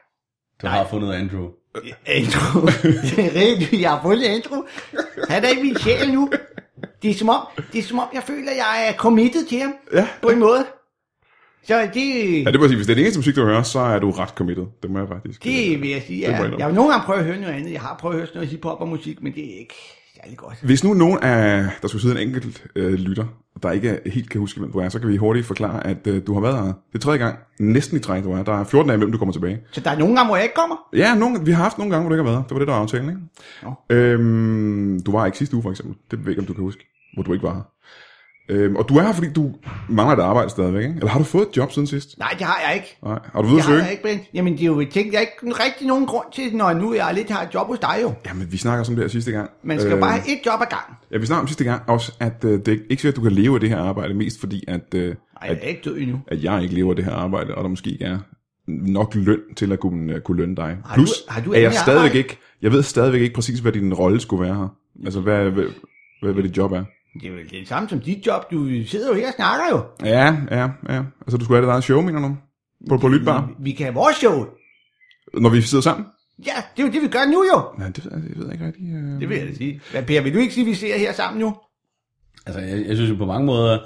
Du Nej. har fundet Andrew.
(laughs) Andrew. Det er rigtigt, jeg har fundet Andrew. Han er ikke min sjæl nu. Det er som om, det er som om jeg føler, at jeg er committed til ham.
Ja.
På en måde. Så det,
Ja, det må jeg sige. Hvis det er det eneste musik, du hører, så er du ret committed. Det må jeg faktisk.
det vil jeg sige.
Det må jeg
Ja.
indrømme.
Jeg har nogle gange prøvet at høre noget andet. Jeg har prøvet at høre sådan noget hiphop og musik, men det er ikke særlig godt.
Hvis nu nogen af, der skulle sidde en enkelt øh, lytter, der ikke helt kan huske, hvem du er, så kan vi hurtigt forklare, at øh, du har været her. Det er tredje gang, næsten i træk, du er. Der er 14 dage imellem, du kommer tilbage.
Så der er nogle gange, hvor jeg ikke kommer.
Ja, nogle, vi har haft nogle gange, hvor du ikke har været her. Det var det, der var aftalen, ikke?
Nå.
Øhm, du var her ikke sidste uge, for eksempel. Det ved jeg ikke, om du kan huske, hvor du ikke var her. Øhm, og du er her, fordi du mangler et arbejde stadigvæk, ikke? Eller har du fået et job siden sidst?
Nej, det har jeg ikke.
Nej. Har du ved
Det
at
har
søge?
jeg ikke, Brent. Jamen, det er jo et ting, jeg ikke rigtig nogen grund til, når nu jeg lidt har et job hos dig jo.
Jamen, vi snakker om det her sidste gang.
Man skal øh... bare have et job ad gangen.
Ja, vi snakker om sidste gang også, at øh, det er ikke sikkert, at du kan leve af det her arbejde, mest fordi, at... Øh,
Nej, jeg er ikke død endnu.
at jeg ikke lever af det her arbejde, og der måske ikke er nok løn til at kunne, øh, kunne lønne dig.
Har
Plus,
du- har du
at jeg
endelig
stadigvæk
arbejde?
ikke, jeg ved stadigvæk ikke præcis, hvad din rolle skulle være her. Altså, hvad, hvad, hvad, hvad dit job er.
Det er jo det samme som dit job. Du sidder jo her og snakker jo.
Ja, ja, ja. Altså, du skulle have det eget show, mener du? På, på Lytbar?
Vi kan have vores show. Mm.
Når vi sidder sammen?
Ja, det er jo det, vi gør nu jo.
Nej, det ved jeg, det ved jeg ikke rigtig. Øh...
Det vil jeg da sige. Hvad, Per, vil du ikke sige, at vi sidder her sammen nu?
Altså, jeg, jeg synes jo på mange måder,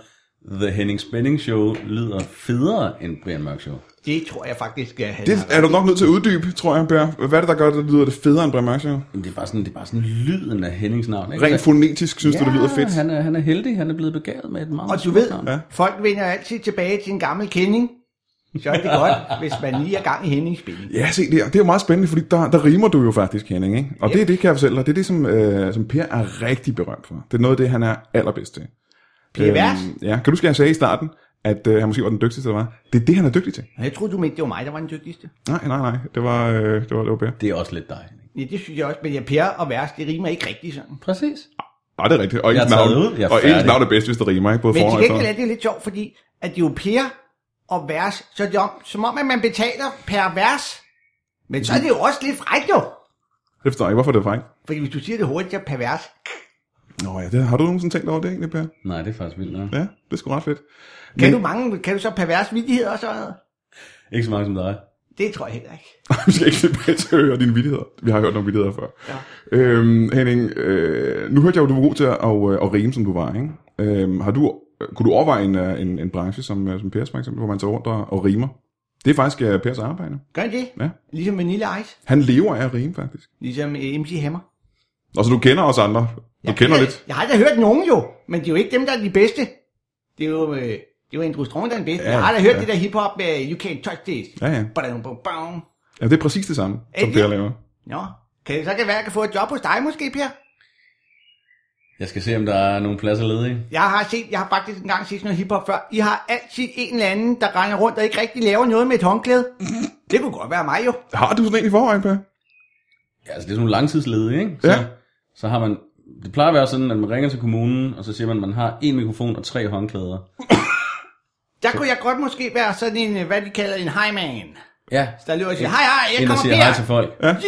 The Henning Spinning Show lyder federe end Brian Mørk Show.
Det tror jeg faktisk, at han
Det er du nok nødt til at uddybe, tror jeg, Per. Hvad er det, der gør, det lyder det federe end Brian Mørk Show?
Men det er bare sådan, det er bare sådan lyden af Hennings navn. Ikke?
Altså,
Rent fonetisk synes du, det lyder fedt.
Han er, han er heldig, han er blevet begavet med et meget
Og du
smukt
ved,
navn.
ja. folk vender altid tilbage til en gammel kending. Så er det (laughs) godt, hvis man lige er gang i Hennings spil.
Ja, se det, er- det er jo meget spændende, fordi der, der rimer du jo faktisk, Henning, ikke? Og det, det kan jeg fortælle dig, det er det, som, øh, som Per er rigtig berømt for. Det er noget af det, han er allerbedst til. Øhm,
Per Vers?
ja, kan du huske, at jeg sagde i starten, at øh, han måske var den dygtigste, der var? Det er det, han er dygtig til.
Jeg troede, du mente, det var mig, der var den dygtigste.
Nej, nej, nej, det var, øh, det var, det var Per.
Det er også lidt dig, Henning.
Ja, det synes jeg også, men ja, Per og Vers, det rimer ikke rigtigt sådan.
Præcis.
Og det er rigtigt, og
Jeg
ens
er taget
navn,
ud, jeg er
og ens
færdig.
navn er bedst, hvis det rimer, ikke? Både
Men
foran
til
og efter.
gengæld er det lidt sjovt, fordi at det er jo Per og Vers, så er det om, som om, at man betaler per vers. Men så er det jo også lidt frækt jo.
Det forstår jeg ikke, hvorfor det er fejl.
Fordi hvis du siger det hurtigt, så er per vers.
Nå ja, det, har du nogensinde tænkt over det egentlig, Per?
Nej, det er faktisk vildt nok.
Ja, det er sgu ret fedt.
Kan du mange, kan du så pervers vidtigheder og sådan noget?
Ikke så mange som dig.
Det tror jeg heller ikke.
(laughs) Vi skal ikke tilbage til at høre dine vidtigheder. Vi har hørt nogle vidtigheder før.
Ja.
Øhm, Henning, øh, nu hørte jeg jo, du var god til at, at, at rime, som du var, ikke? Øhm, har du, kunne du overveje en, øh, en, en branche som, øh, som Pers, for eksempel, hvor man tager rundt og, og rimer? Det er faktisk øh, Pers arbejde.
Gør I det?
Ja.
Ligesom Vanilla Ice.
Han lever af at rime, faktisk.
Ligesom øh, MC Hammer.
Og så du kender os andre. Du
Jeg
kender
har-
lidt.
Jeg har aldrig hørt nogen jo, men det er jo ikke dem, der er de bedste. Det er jo, øh, det er jo Andrew Strong, der er den bedste.
Ja,
Ja, jeg har aldrig hørt
ja.
ja. det der hiphop med You Can't Touch This.
Ja, ja.
Badum, bum, bum.
ja. det er præcis det samme,
Er
som
det-
Per laver.
Nå, kan det så kan være, at jeg kan få et job hos dig måske, Per?
Jeg skal se, om der er nogle pladser ledige.
Jeg har, set, jeg har faktisk engang set sådan noget hiphop før. I har altid en eller anden, der render rundt og ikke rigtig laver noget med et
(laughs)
håndklæde. Det kunne godt være mig jo.
Har du sådan en i forvejen, Per?
Ja, altså det er sådan nogle langtidsledige, ikke? Så,
Ja.
så har man... Det plejer at være sådan, at man ringer til kommunen, og så siger man, at man har en mikrofon og tre håndklæder.
Der kunne jeg godt måske være sådan en, øh, hvad de kalder en highman.
Ja,
Så der løber og siger, hej hej, jeg
ind og
kommer
siger hej til
Per.
folk.
Siger,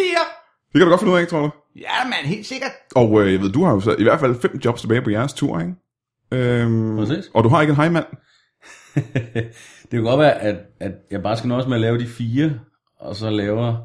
Det kan du godt finde ud af, ikke, tror du?
ja mand, helt sikkert.
Og øh, jeg ved, du har jo så i hvert fald fem jobs tilbage på jeres tur, ikke? Øhm,
Præcis.
Og du har ikke en hejmand.
det kan godt være, at, at jeg bare skal nøjes med at lave de fire, og så laver,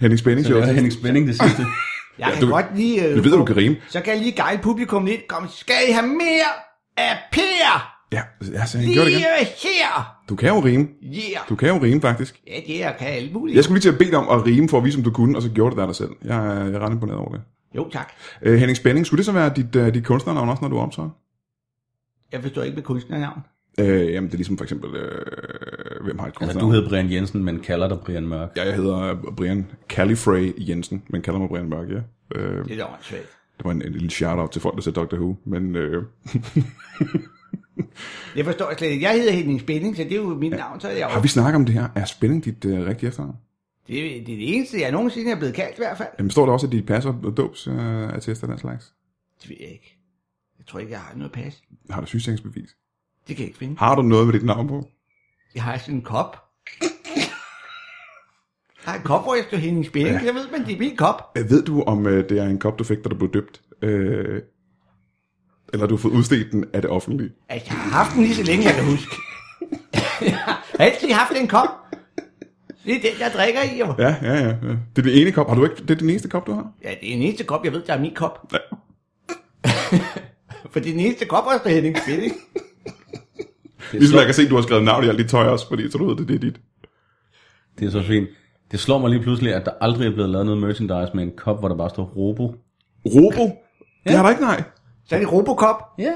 Henning Spænding,
så
siger
laver
også.
Henning Spænding det (laughs) sidste.
Jeg
Ja,
kan
du-
godt lige... øh,
Vi ved, at du kan rime.
Så kan jeg lige guide publikum lidt. Kom, skal I have mere af Per?
Ja, altså, han gjorde det igen.
Lige her!
Du kan jo rime.
Yeah!
Du kan jo rime, faktisk.
Ja, det er kan alt muligt.
Jeg skulle lige til at bede dig om at rime for at vise, om du kunne, og så gjorde du det der dig selv. Jeg, er- jeg er ret imponeret over det.
Jo, tak.
Øh, Henning Spænding, skulle det så være dit, øh, dit kunstnernavn også, når du optræder?
Jeg forstår ikke med kunstnernavn.
Øh, jamen, det er ligesom for eksempel, øh, hvem har et
altså,
kunstnernavn?
du hedder Brian Jensen, men kalder dig Brian Mørk.
Ja, jeg hedder øh, Brian Califrey Jensen, men kalder mig Brian Mørk, ja. Øh,
Det er da åndssvagt.
det var en, en lille shout-out til folk, der ser Dr. Who, men øh, (laughs)
Jeg forstår slet ikke. Jeg hedder Henning Spænding, så det er jo mit navn, så er jeg
har
jo...
vi snakket om det her? Er Spænding dit øh, rigtige efternavn?
Det, er- det er det eneste, jeg nogensinde er blevet kaldt i hvert fald.
Jamen, står der også, at de passer dobs øh, attester og den slags?
Det ved jeg ikke. Jeg tror ikke, jeg har noget pas.
Har du sygesikringsbevis?
Det kan jeg ikke finde.
Har du noget med dit navn på?
Jeg har sådan en kop. Jeg har en kop, hvor jeg står Henning Spænding. Jeg ved, men det er min kop.
Øh, Ved du, om øh, det er en kop, du fik, da du blev døbt? Øh, eller du har fået udstedt den af det offentlige?
Altså, jeg har haft den lige så længe, jeg kan huske. jeg har altid haft en kop. Det er den, jeg drikker i, jo.
Ja, ja, ja. ja. Det er den ene kop. Har du ikke, det er den eneste kop, du har?
Ja, det er den eneste kop, jeg ved, der er min kop.
Ja.
For det er den eneste kop, også der er Henning Spilling.
Det,
Ligesom
slår,
jeg kan se, at du har skrevet navn i alt dit tøj også, fordi så du ved, det, det er dit.
det er så fint. Det slår mig lige pludselig, at der aldrig er blevet lavet noget merchandise med en kop, hvor der bare står Robo.
Robo? Ja. Det har der ikke, nej.
Så er det Robocop.
Ja,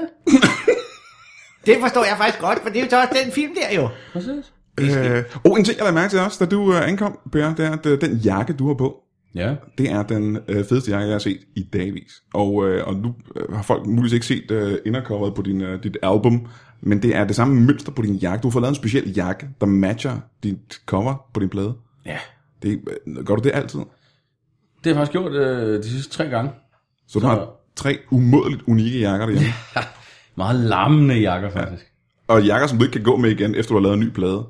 Det forstår jeg faktisk godt, for det er jo så også den film der, jo.
præcis.
Øh, oh, en ting, jeg lagde mærke til også, da du øh, ankom, Per, det er, at øh, den jakke, du har på,
Ja,
det er den øh, fedeste jakke, jeg har set i dagvis. Og, øh, og nu øh, har folk muligvis ikke set øh, indercoveret på din, øh, dit album, men det er det samme mønster på din jakke. Du har fået lavet en speciel jakke, der matcher dit cover på din plade.
ja.
Det, øh, gør du det altid?
Det har jeg faktisk gjort øh, de sidste tre gange.
Så du
Så-
har tre umådeligt unikke jakker derhjemme.
Meget lammende jakker, faktisk. Ja.
Og jakker, som du ikke kan gå med igen, efter du har lavet en ny plade.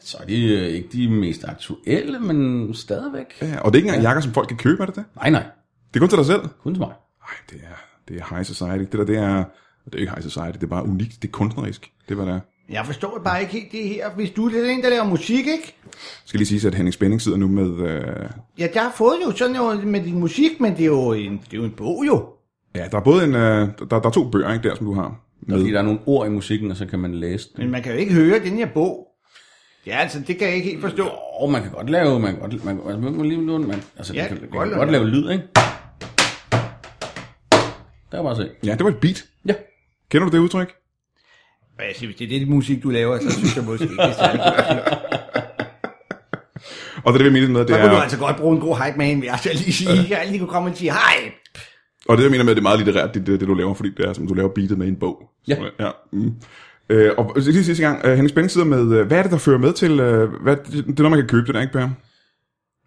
Så er de øh, ikke de mest aktuelle, men stadigvæk.
Ja, og det er ikke engang jakker, som folk kan købe, er det det?
Nej, nej.
Det er kun til dig selv?
Kun til mig.
Nej, det er, det er high society. Det der, det er, det er ikke high society, det er bare unikt. Det er kunstnerisk. Det er, hvad det er.
Jeg forstår bare ikke helt det her. Hvis du er den, der laver musik, ikke?
Jeg skal lige sige, at Henning Spænding sidder nu med... Øh,
Ja, jeg har fået jo sådan noget med din musik, men det er jo en, det er jo en bog, jo.
ja, der er både en... Øh, der, der er to bøger, ikke, der, som du har.
Der, er fordi
Med.
der er nogle ord i musikken, og så kan man læse det.
Men man kan jo ikke høre den her bog. Ja, altså, det kan jeg ikke helt forstå.
Jo, man kan godt lave, man kan godt, man, altså, man, kan lige, man, man, altså,
Ja,
man kan,
det
man
kan
kan
godt
godt
lade
lave lyd, ikke? Der er bare at se.
Ja, det var et beat.
Ja.
Kender du det udtryk?
Og jeg siger, hvis det er det musik, du laver, så synes jeg måske ikke, det er særlig godt.
Og det er det, vi mener med, det
(laughs) Så kunne du
er...
altså godt bruge en god hype man, vil jeg så lige sige. Jeg lige kunne komme og sige, hej. altså-
Og det, jeg mener med, det er meget litterært, det, det, det du laver, fordi det er, som du laver beatet med i en bog.
Ja.
Så, ja mm. Øh, og så lige sidste gang, øh, Henning Spænding sidder med, øh, hvad er det, der fører med til, øh, hvad, det, det er noget, man kan købe, det der, ikke, Per?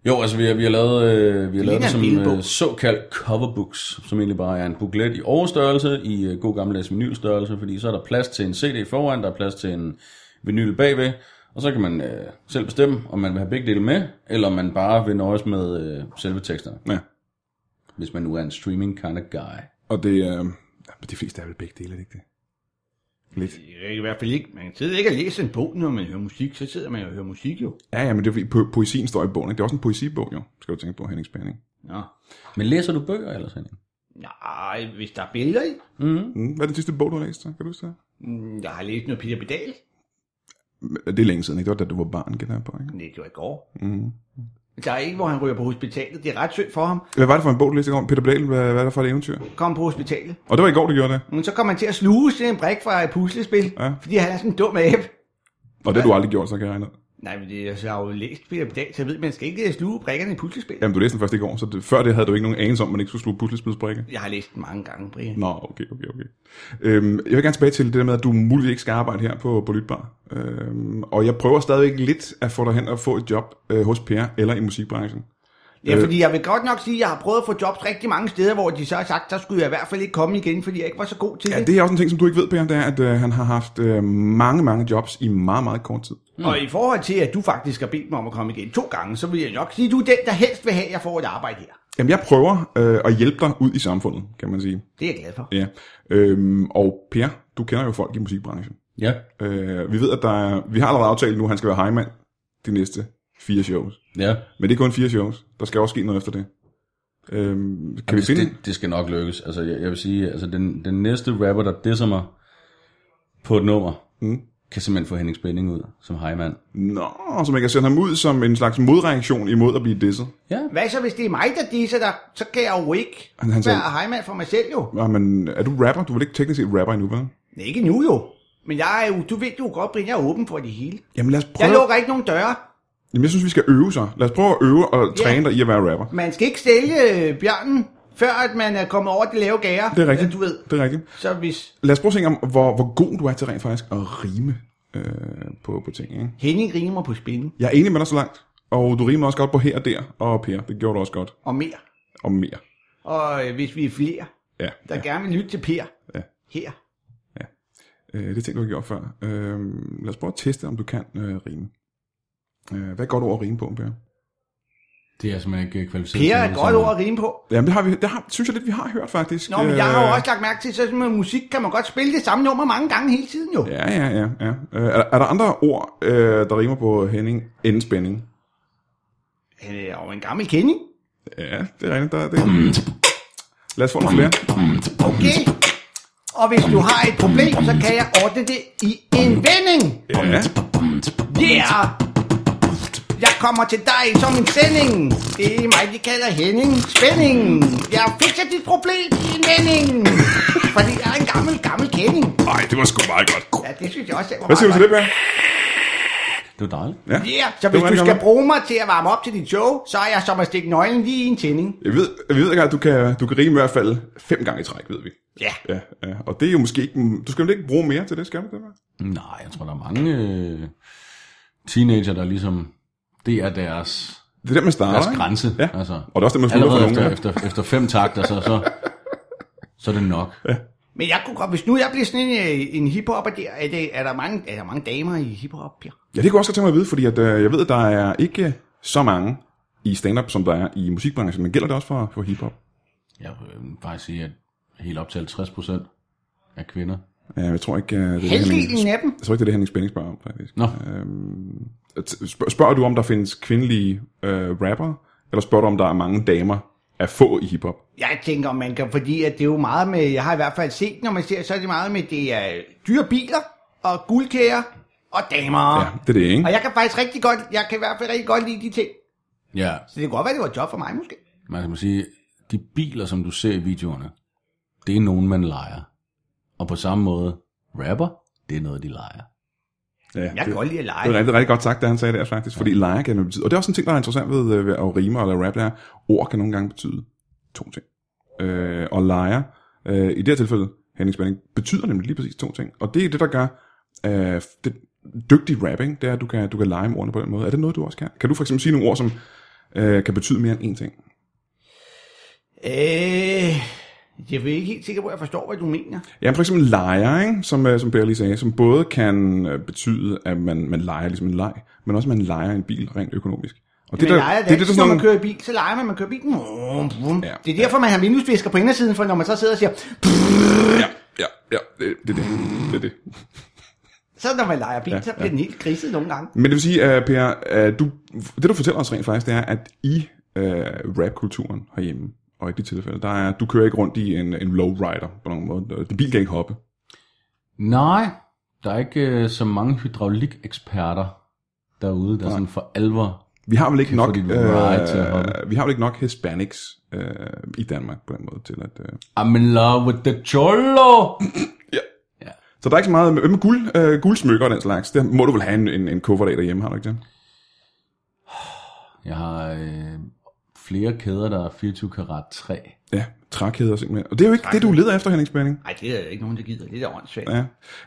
Jo, altså vi har, vi har lavet, øh, vi har lavet
ligner
det
en
som
lille bog.
øh, såkaldt coverbooks, som egentlig bare er en booklet i overstørrelse, i øh, god gammeldags vinylstørrelse, fordi så er der plads til en CD foran, der er plads til en vinyl bagved, og så kan man øh, selv bestemme, om man vil have begge dele med, eller om man bare vil nøjes med øh, selve teksterne,
Ja.
hvis man nu er en streaming kind of guy.
Og det, øh, ja, men de fleste er vel begge dele, er det ikke det? Lidt.
Jeg kan i hvert fald ikke. Man sidder ikke og læser en bog, når man hører musik. Så sidder man og hører musik jo.
Ja, ja, men det er fordi po- poesien står i bogen, ikke? Det er også en poesibog, jo. Skal du tænke på, Henning Spanning.
Nå.
Men læser du bøger ellers, Henning?
Nej, hvis der er billeder i.
Mm. Hvad er den sidste bog, du har læst? så? Kan du huske det?
Mm, Jeg har læst noget Peter Pedal.
Men Det er længe siden, ikke? Det var da du var barn, gætter jeg på, ikke?
Det gjorde i går.
Mm.
Der er en, hvor han ryger på hospitalet. Det er ret synd for ham.
Hvad var det for en bog, du læste i går? Peter Pedal, hvad, hvad er det for et eventyr?
Kom på hospitalet.
Og det var i går, du gjorde det.
Men så kommer han til at sluge sådan en brik fra et puslespil.
Ja.
Fordi han er sådan en dum abe.
Og det har du aldrig gjort, så kan jeg regne ud.
Nej, men det, altså, jeg har jo læst Peter Pedal, så jeg ved, man skal ikke øh, sluge brikkerne i puslespil.
Jamen, du læste den først i går, så det, før det havde du ikke nogen anelse om, at man ikke skulle sluge puslespilsbrikker.
Jeg har læst den mange gange, Brian.
Nå, okay, okay, okay. Øhm, jeg vil gerne tilbage til det der med, at du muligvis ikke skal arbejde her på, på Lytbar. Øhm, og jeg prøver stadigvæk lidt at få dig hen og få et job øh, hos Per eller i musikbranchen. Øh.
Ja, fordi jeg vil godt nok sige, at jeg har prøvet at få jobs rigtig mange steder, hvor de så har sagt, så skulle jeg i hvert fald ikke komme igen, fordi jeg ikke var så god til
Ja, det er også en ting, som du ikke ved, Per, det er, at øh, han har haft øh, mange, mange jobs i meget, meget kort tid.
Mm. Og i forhold til, at du faktisk har bedt mig om at komme igen to gange, så vil jeg nok sige, at du er den, der helst vil have, at jeg får et arbejde her.
Jamen, jeg prøver øh, at hjælpe dig ud i samfundet, kan man sige.
Det er jeg glad for.
Ja. Øhm, og Per, du kender jo folk i musikbranchen.
Ja.
Øh, vi ved, at der er, vi har allerede aftalt nu, at han skal være hejmand de næste fire shows.
Ja.
Men det er kun fire shows. Der skal også ske noget efter det. Øhm, kan vi
Det,
finde...
Altså, det, det skal nok lykkes. Altså, jeg, jeg vil sige, altså, den, den næste rapper, der disser mig på et nummer, mm. kan simpelthen få Henning Spænding ud som hejmand.
Nå, så man kan sende ham ud som en slags modreaktion imod at blive disset.
Ja.
Hvad så, hvis det er mig, der disser dig? Så kan jeg jo ikke
Han- han sagde-
være hejmand for mig selv jo.
Nå, men er du rapper? Du er vel ikke teknisk set rapper endnu, vel?
Nej, ikke nu jo. Men jeg er jo, du ved jo godt, Brian, jeg er åben for det hele.
Jamen lad os
Jeg
prøve...
lukker ikke nogen døre.
Jamen, jeg synes, vi skal øve sig. Lad os prøve at øve og træne dig i at være rapper.
Man skal ikke sælge øh, bjørnen, før at man er kommet over det lave gære.
Det er rigtigt.
Ja, Du ved.
Det er rigtigt.
Så hvis
Lad os prøve at tænke om, hvor, hvor god du er til rent faktisk at rime øh, på, på ting. Ikke?
Henning rimer på spil
Jeg er enig med dig så langt. Og du rimer også godt på her og der og Per. Det gjorde du også godt.
og mere,
Og mere.
og øh, hvis vi er flere,
Ja.
der ja. gerne vil lytte til Per,
Ja.
her,
Øh, det ting, du har gjort før. Øh, lad os prøve at teste, om du kan øh, rime. Øh, hvad er et godt ord at rime på, Per?
Det er simpelthen ikke øh, kvalificeret.
Per
til
er
det
et godt
samme.
ord at rime på.
Jamen, det, har vi, det har, synes jeg lidt, vi har hørt, faktisk. Øh,
Nå, men jeg har jo også lagt mærke til, så med musik kan man godt spille det samme nummer mange gange hele tiden jo. Ja.
Ja, ja, ja. ja. Øh, er, er der andre ord, øh, der rimer på Henning end spænding?
Han er jo Øh, en gammel kending.
Ja, det er rigtigt. Der, er det. Lad os få nogle flere.
Okay. Og hvis du har et problem, så kan jeg ordne det i en vending.
Ja.
Yeah! Jeg kommer til dig som en sending. Det er mig, de kalder Henning Spænding. Jeg fikser dit problem i en vending. Fordi jeg er en gammel, gammel kending.
Nej, det var sgu meget godt.
Ja, det synes jeg også, jeg var
Hvad siger du til det, Per?
Det var dejligt.
Ja.
Yeah, så hvis
var
du
rigtig
skal
gammel.
bruge mig til at varme op til dit show, så er jeg som at stikke nøglen lige i en tænding.
Jeg ved, jeg ved ikke, at du kan, du kan rime i hvert fald fem gange i træk, ved vi.
Ja.
Ja, ja. Og det er jo måske ikke... Du skal vel ikke bruge mere til det, skal du det, Per?
Nej, jeg tror, der er mange øh, teenager, der ligesom... Det er deres,
Det er der, man starter,
deres
ikke?
grænse.
Ja.
Altså,
Og det er også det, man slutter for
allerede
nogen.
efter,
ja.
efter, efter fem takter, så, så, så er det nok.
Men jeg kunne godt, hvis nu jeg bliver sådan en, øh, en hiphopper der, er, det, er, der mange, er der mange damer i hiphop? Ja.
Ja, det kunne jeg også godt tænke mig at vide, fordi at, øh, jeg ved, at der er ikke så mange i stand-up, som der er i musikbranchen, men gælder det også for, for hiphop?
Jeg vil faktisk sige, at helt op til 50 procent af kvinder.
Ja, jeg tror ikke, øh, det er det,
Halvdelen
Henning,
af dem.
jeg tror ikke, det er det, Henning Spænding spørger om, faktisk.
Nå,
T- sp- Spørger du, om der findes kvindelige øh, rapper, eller spørger du, om der er mange damer at få i hiphop?
Jeg tænker, om man kan, fordi at det er jo meget med, jeg har i hvert fald set, når man ser, så er det meget med, det er dyre biler og guldkærer og damer.
Ja, det er det, ikke?
Ah. Og jeg kan faktisk rigtig godt, jeg kan i hvert fald rigtig godt lide de ting.
ja,
Så det kunne godt være, det var et job for mig måske.
man kan sige, de biler, som du ser i videoerne, det er nogen, man leger. Og på samme måde, rapper, det er noget, de leger.
Ja,
Jeg kan
det,
godt lide at
det er
lege.
rigtig, rigtig godt sagt, det han sagde der faktisk, fordi leje kan jo betyde. Og det er også en ting, der er interessant ved, øh, ved at rime eller rap, det er, ord kan nogle gange betyde to ting. Øh, og lejer, øh, i det her tilfælde, Henning Spænding, betyder nemlig lige præcis to ting. Og det er det, der gør øh, det dygtig rapping, det er, at du kan, du kan lege med ordene på den måde. Er det noget, du også kan? Kan du for eksempel sige nogle ord, som øh, kan betyde mere end én ting?
Øh, jeg er ikke helt sikker på, at jeg forstår, hvad du mener.
Ja, for eksempel leger, ikke? Som, øh, som Per lige sagde, som både kan øh, betyde, at man, man leger ligesom en leg, men også, at man leger en bil rent økonomisk. Og
Det,
der-
man leger det,
det, er det, der
altid, når
sådan
man
nogle,
kører i bil, så leger man, man kører bilen. Vrum, vrum.
Ja.
Det er derfor, man har vinduesvisker på indersiden, for når man så sidder og siger,
ja, ja, ja, det, det, er det. Det er det.
Så når man leger bil, ja, så bliver ja. den helt griset nogle gange.
Men det vil sige, uh, Per, uh, du, det du fortæller os rent faktisk, det er, at i uh, rapkulturen herhjemme, og i dit tilfælde, der er, du kører ikke rundt i en, en lowrider på nogen måde. Din bil kan ikke hoppe.
Nej, der er ikke øh, så mange hydraulikeksperter derude, der
Nej.
sådan for alvor...
Vi har vel ikke
Kan få
nok,
dit ride til at hoppe.
øh, vi har vel ikke nok hispanics øh, i Danmark på den måde til at... Øh.
I'm in love with the cholo!
Så der er ikke så meget med, med guld, øh, guldsmykker og den slags. Det må du vel have en, en, en kuffert af derhjemme, har du ikke det?
Jeg har øh, flere kæder, der er 24 karat 3.
Ja, trækheder simpelthen. Og det er jo ikke det, du leder efter, Henning Spanning.
Nej, det er der ikke nogen, der gider. Det er da åndssvagt.
Ja.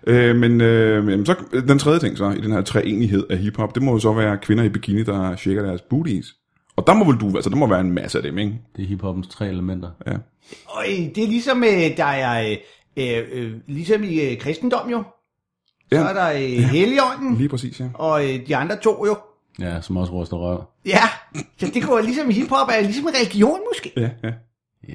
Øh, men øh, jamen, så, den tredje ting så, i den her treenighed af hiphop, det må jo så være kvinder i bikini, der shaker deres booties. Og der må vel du, altså der må være en masse af dem, ikke?
Det er hiphoppens tre elementer.
Ja.
Og øh, det er ligesom, øh, der er, øh, øh, ligesom i øh, kristendom jo. Så
Ja.
er der øh, Helligånden,
Lige præcis, ja.
og øh, de andre to jo.
Ja, som også ruster røv.
Ja, så det går ligesom hiphop, er ligesom en religion måske.
Ja, ja.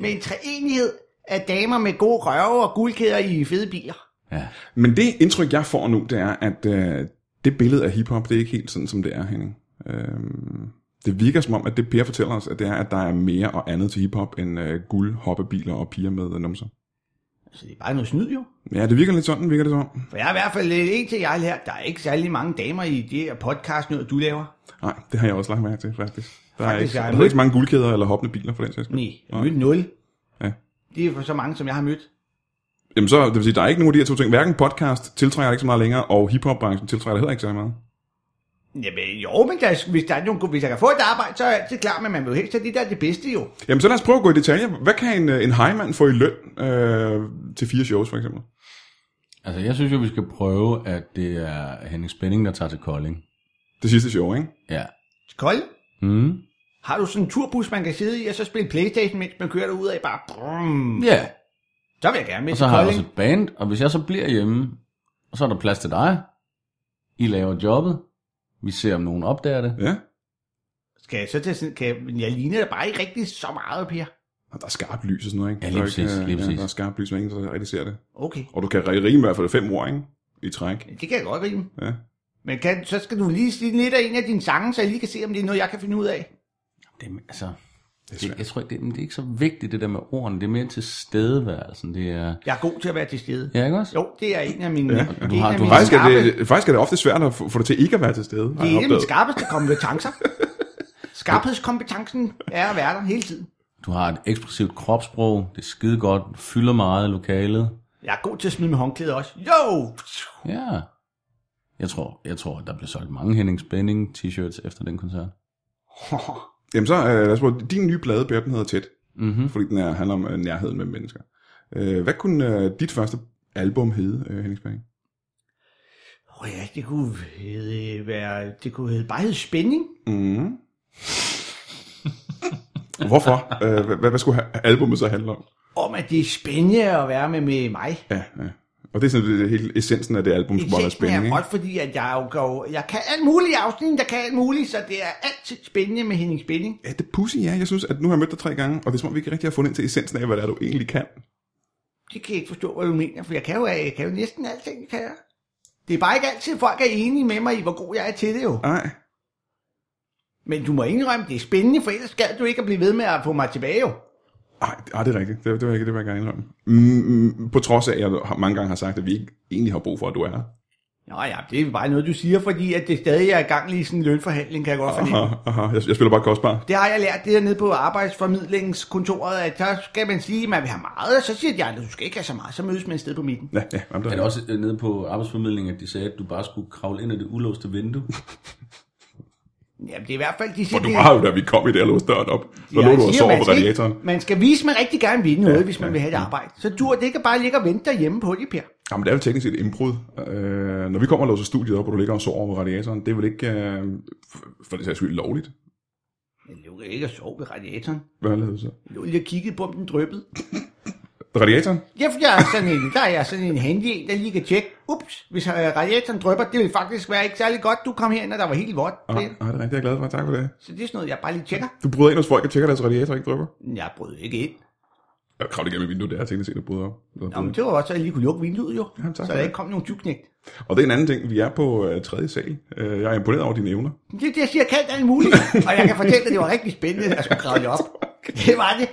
Med en treenighed af damer med gode røve og guldkæder i fede biler.
Ja.
Men det indtryk, jeg får nu, det er, at øh, det billede af hiphop, det er ikke helt sådan, som det er, Henning. Øh, det virker som om, at det Per fortæller os, at det er, at der er mere og andet til hiphop end øh, guld, hoppebiler og piger med øh, numser.
Så det er bare noget snyd jo.
Ja, det virker lidt sådan, virker det som om.
For jeg er i hvert fald øh, en til jer her. Der er ikke særlig mange damer i det her podcast, noget du laver.
Nej, det har jeg også lagt mærke til, faktisk. Der er,
Faktisk
ikke,
er jeg
der er
med.
ikke så mange guldkæder eller hoppende biler for den sags skyld.
Nej, jeg mødte nul.
Ja.
Det er for så mange, som jeg har mødt.
Jamen så, det vil sige, der er ikke nogen af de her to ting. Hverken podcast tiltrækker ikke så meget længere, og hiphopbranchen tiltrækker heller ikke så meget.
Jamen, jo, men der, hvis, der er nogen, hvis jeg kan få et arbejde, så er jeg altid klar, men man vil jo helst have det der er det bedste jo.
Jamen så lad os prøve at gå i detaljer. Hvad kan en, øh, en hejmand få i løn øh, til fire shows, for eksempel?
Altså, jeg synes jo, vi skal prøve, at det er Henning Spænding, der tager til Kolding.
Det sidste show, ikke?
Ja.
Kold.
Mm.
Har du sådan en turbus, man kan sidde i, og så spille Playstation, mens man kører derud af bare... Brum.
Ja.
Så vil jeg gerne med
Og
til
så har jeg også
Kolding.
et band, og hvis jeg så bliver hjemme, så er der plads til dig. I laver jobbet. Vi ser, om nogen opdager det.
Ja.
Skal jeg så til sådan... Kan jeg, men jeg ligner da bare ikke rigtig så meget, Per.
Og der er skarpt lys og sådan noget, ikke?
Ja,
Der er
lige
ikke,
præcis,
øh,
lige
ja,
præcis.
Der er skarpt lys, men ingen der rigtig ser det.
Okay.
Og du kan ri- rime i hvert fald fem ord, ikke? I træk.
Det kan jeg godt rime.
Ja.
Men kan, så skal du lige sige lidt af en af dine sange, så jeg lige kan se, om det er noget, jeg kan finde ud af.
det er- altså, det
svært.
jeg tror, ikke, det, men det er ikke så vigtigt, det der med ordene. Det er mere tilstedeværelsen. Det er...
Jeg er god til at være til stede.
Ja, ikke også?
Jo, det er en af mine... Ja,
du har- du har-
Faktisk er, det, faktisk er det ofte svært at få få det til ikke at være til stede. har jeg
Det er en af mine
opdaget.
skarpeste
(laughs)
kompetencer. Skarphedskompetencen er at være der hele tiden.
Du har et ekspressivt kropssprog. Det er skide godt. Du fylder meget i lokalet.
Jeg er god til at smide med håndklæde også. Jo!
Ja. Jeg tror, jeg tror, der bliver solgt mange Henning Spænding t-shirts efter den koncert.
Jamen så, øh, lad os prøve. Din nye plade, Per, den hedder Tæt. Mm-hmm. Fordi den er, handler om øh, nærheden med mennesker. Øh, hvad kunne øh, dit første album hedde, øh, Henning Spanning?
Åh oh ja, det kunne hedde, være, det kunne hedde, bare hedde spænding.
Mm. (laughs) Hvorfor? øh, hvad, hvad- hvad skulle ha- albumet så handle om?
Om at det er spændende at være med, med mig.
Ja, ja. Og det er sådan det, det hele essensen af det album, som er
Insekten
spænding.
er
Ikke?
godt, fordi at jeg, jo, går- jeg kan alt muligt i afsnit, der kan alt muligt, så det er altid spændende med Henning Spænding.
Ja, det er pussy, ja. Jeg synes, at nu har jeg mødt dig tre gange, og det er som om, vi ikke rigtig har fundet ind til essensen af, hvad det er, du egentlig kan.
Det kan jeg ikke forstå, hvad du mener, for jeg kan jo, jeg kan jo næsten alting, kan jeg. Det er bare ikke altid, folk er enige med mig i, hvor god jeg er til det jo.
Nej.
Men du må indrømme, det er spændende, for ellers skal du ikke at blive ved med at få mig tilbage jo.
Ej, det- ej, det er rigtigt. Det, det, var ikke, det vil jeg gerne indrømme. Mm, mm, på trods af, at jeg har- mange gange har sagt, at vi ikke egentlig har brug for, at du er her.
Nå ja, det er bare noget, du siger, fordi at det stadig er i gang lige i sådan en lønforhandling, kan jeg godt fornemme.
Aha, aha. Jeg, jeg spiller bare kostbar.
Det har jeg lært det nede på arbejdsformidlingskontoret, at så skal man sige, at man vil have meget, og så siger de andre, du skal ikke have så meget, så mødes man et sted på midten.
Ja, ja, jamen, der
Er det også øh, nede på arbejdsformidlingen, at de sagde, at du bare skulle kravle ind ad det ulåste vindue?
Jamen, det er i hvert fald, de
Og
siger,
du
det-
var jo, da vi kom i det, og låste døren op. Så
Jeg
lå du
altså,
og
siger,
sov
man
på
skal ikke-
radiatoren.
Man skal vise, at man rigtig gerne vil noget, hvis man vil have et arbejde. Så dur det ikke bare ligge og vente derhjemme på det, Per.
Jamen, det er jo teknisk set et indbrud. Øh, når vi kommer og låser studiet op, og du ligger og sover på radiatoren, det er vel ikke, øh, for- for det sags skyld, lovligt?
Men du kan ikke at sove ved radiatoren.
Hvad lavede du så?
Jeg lå lige og kiggede på, om den drøbbede.
Radiatoren?
Ja, for jeg er sådan en, der er jeg sådan en handy en, der lige kan tjekke. Ups, hvis øh, radiatoren drøber, det vil faktisk være ikke særlig godt, du kom herind, og der var helt vådt.
Ah,
Per.
ah, det er rigtigt, jeg er glad for. Tak for det.
Så det er sådan noget, jeg bare lige tjekker.
Du bryder ind hos folk og tjekker, at deres radiator ikke drøber.
Jeg brød ikke ind.
Jeg kravlede igennem vinduet der, og tænkte, at jeg bryder op.
Jamen, det var også, at jeg lige kunne lukke vinduet jo,
Jamen, tak
så
for
der
det.
ikke kom nogen tyvknægt.
Og det er en anden ting. Vi er på øh, tredje sal. Øh, jeg er imponeret over dine evner.
Men Det er det, jeg siger, jeg kan alt muligt. Og jeg kan fortælle, at det var rigtig spændende, at jeg skulle grave det (laughs) op. Det var det.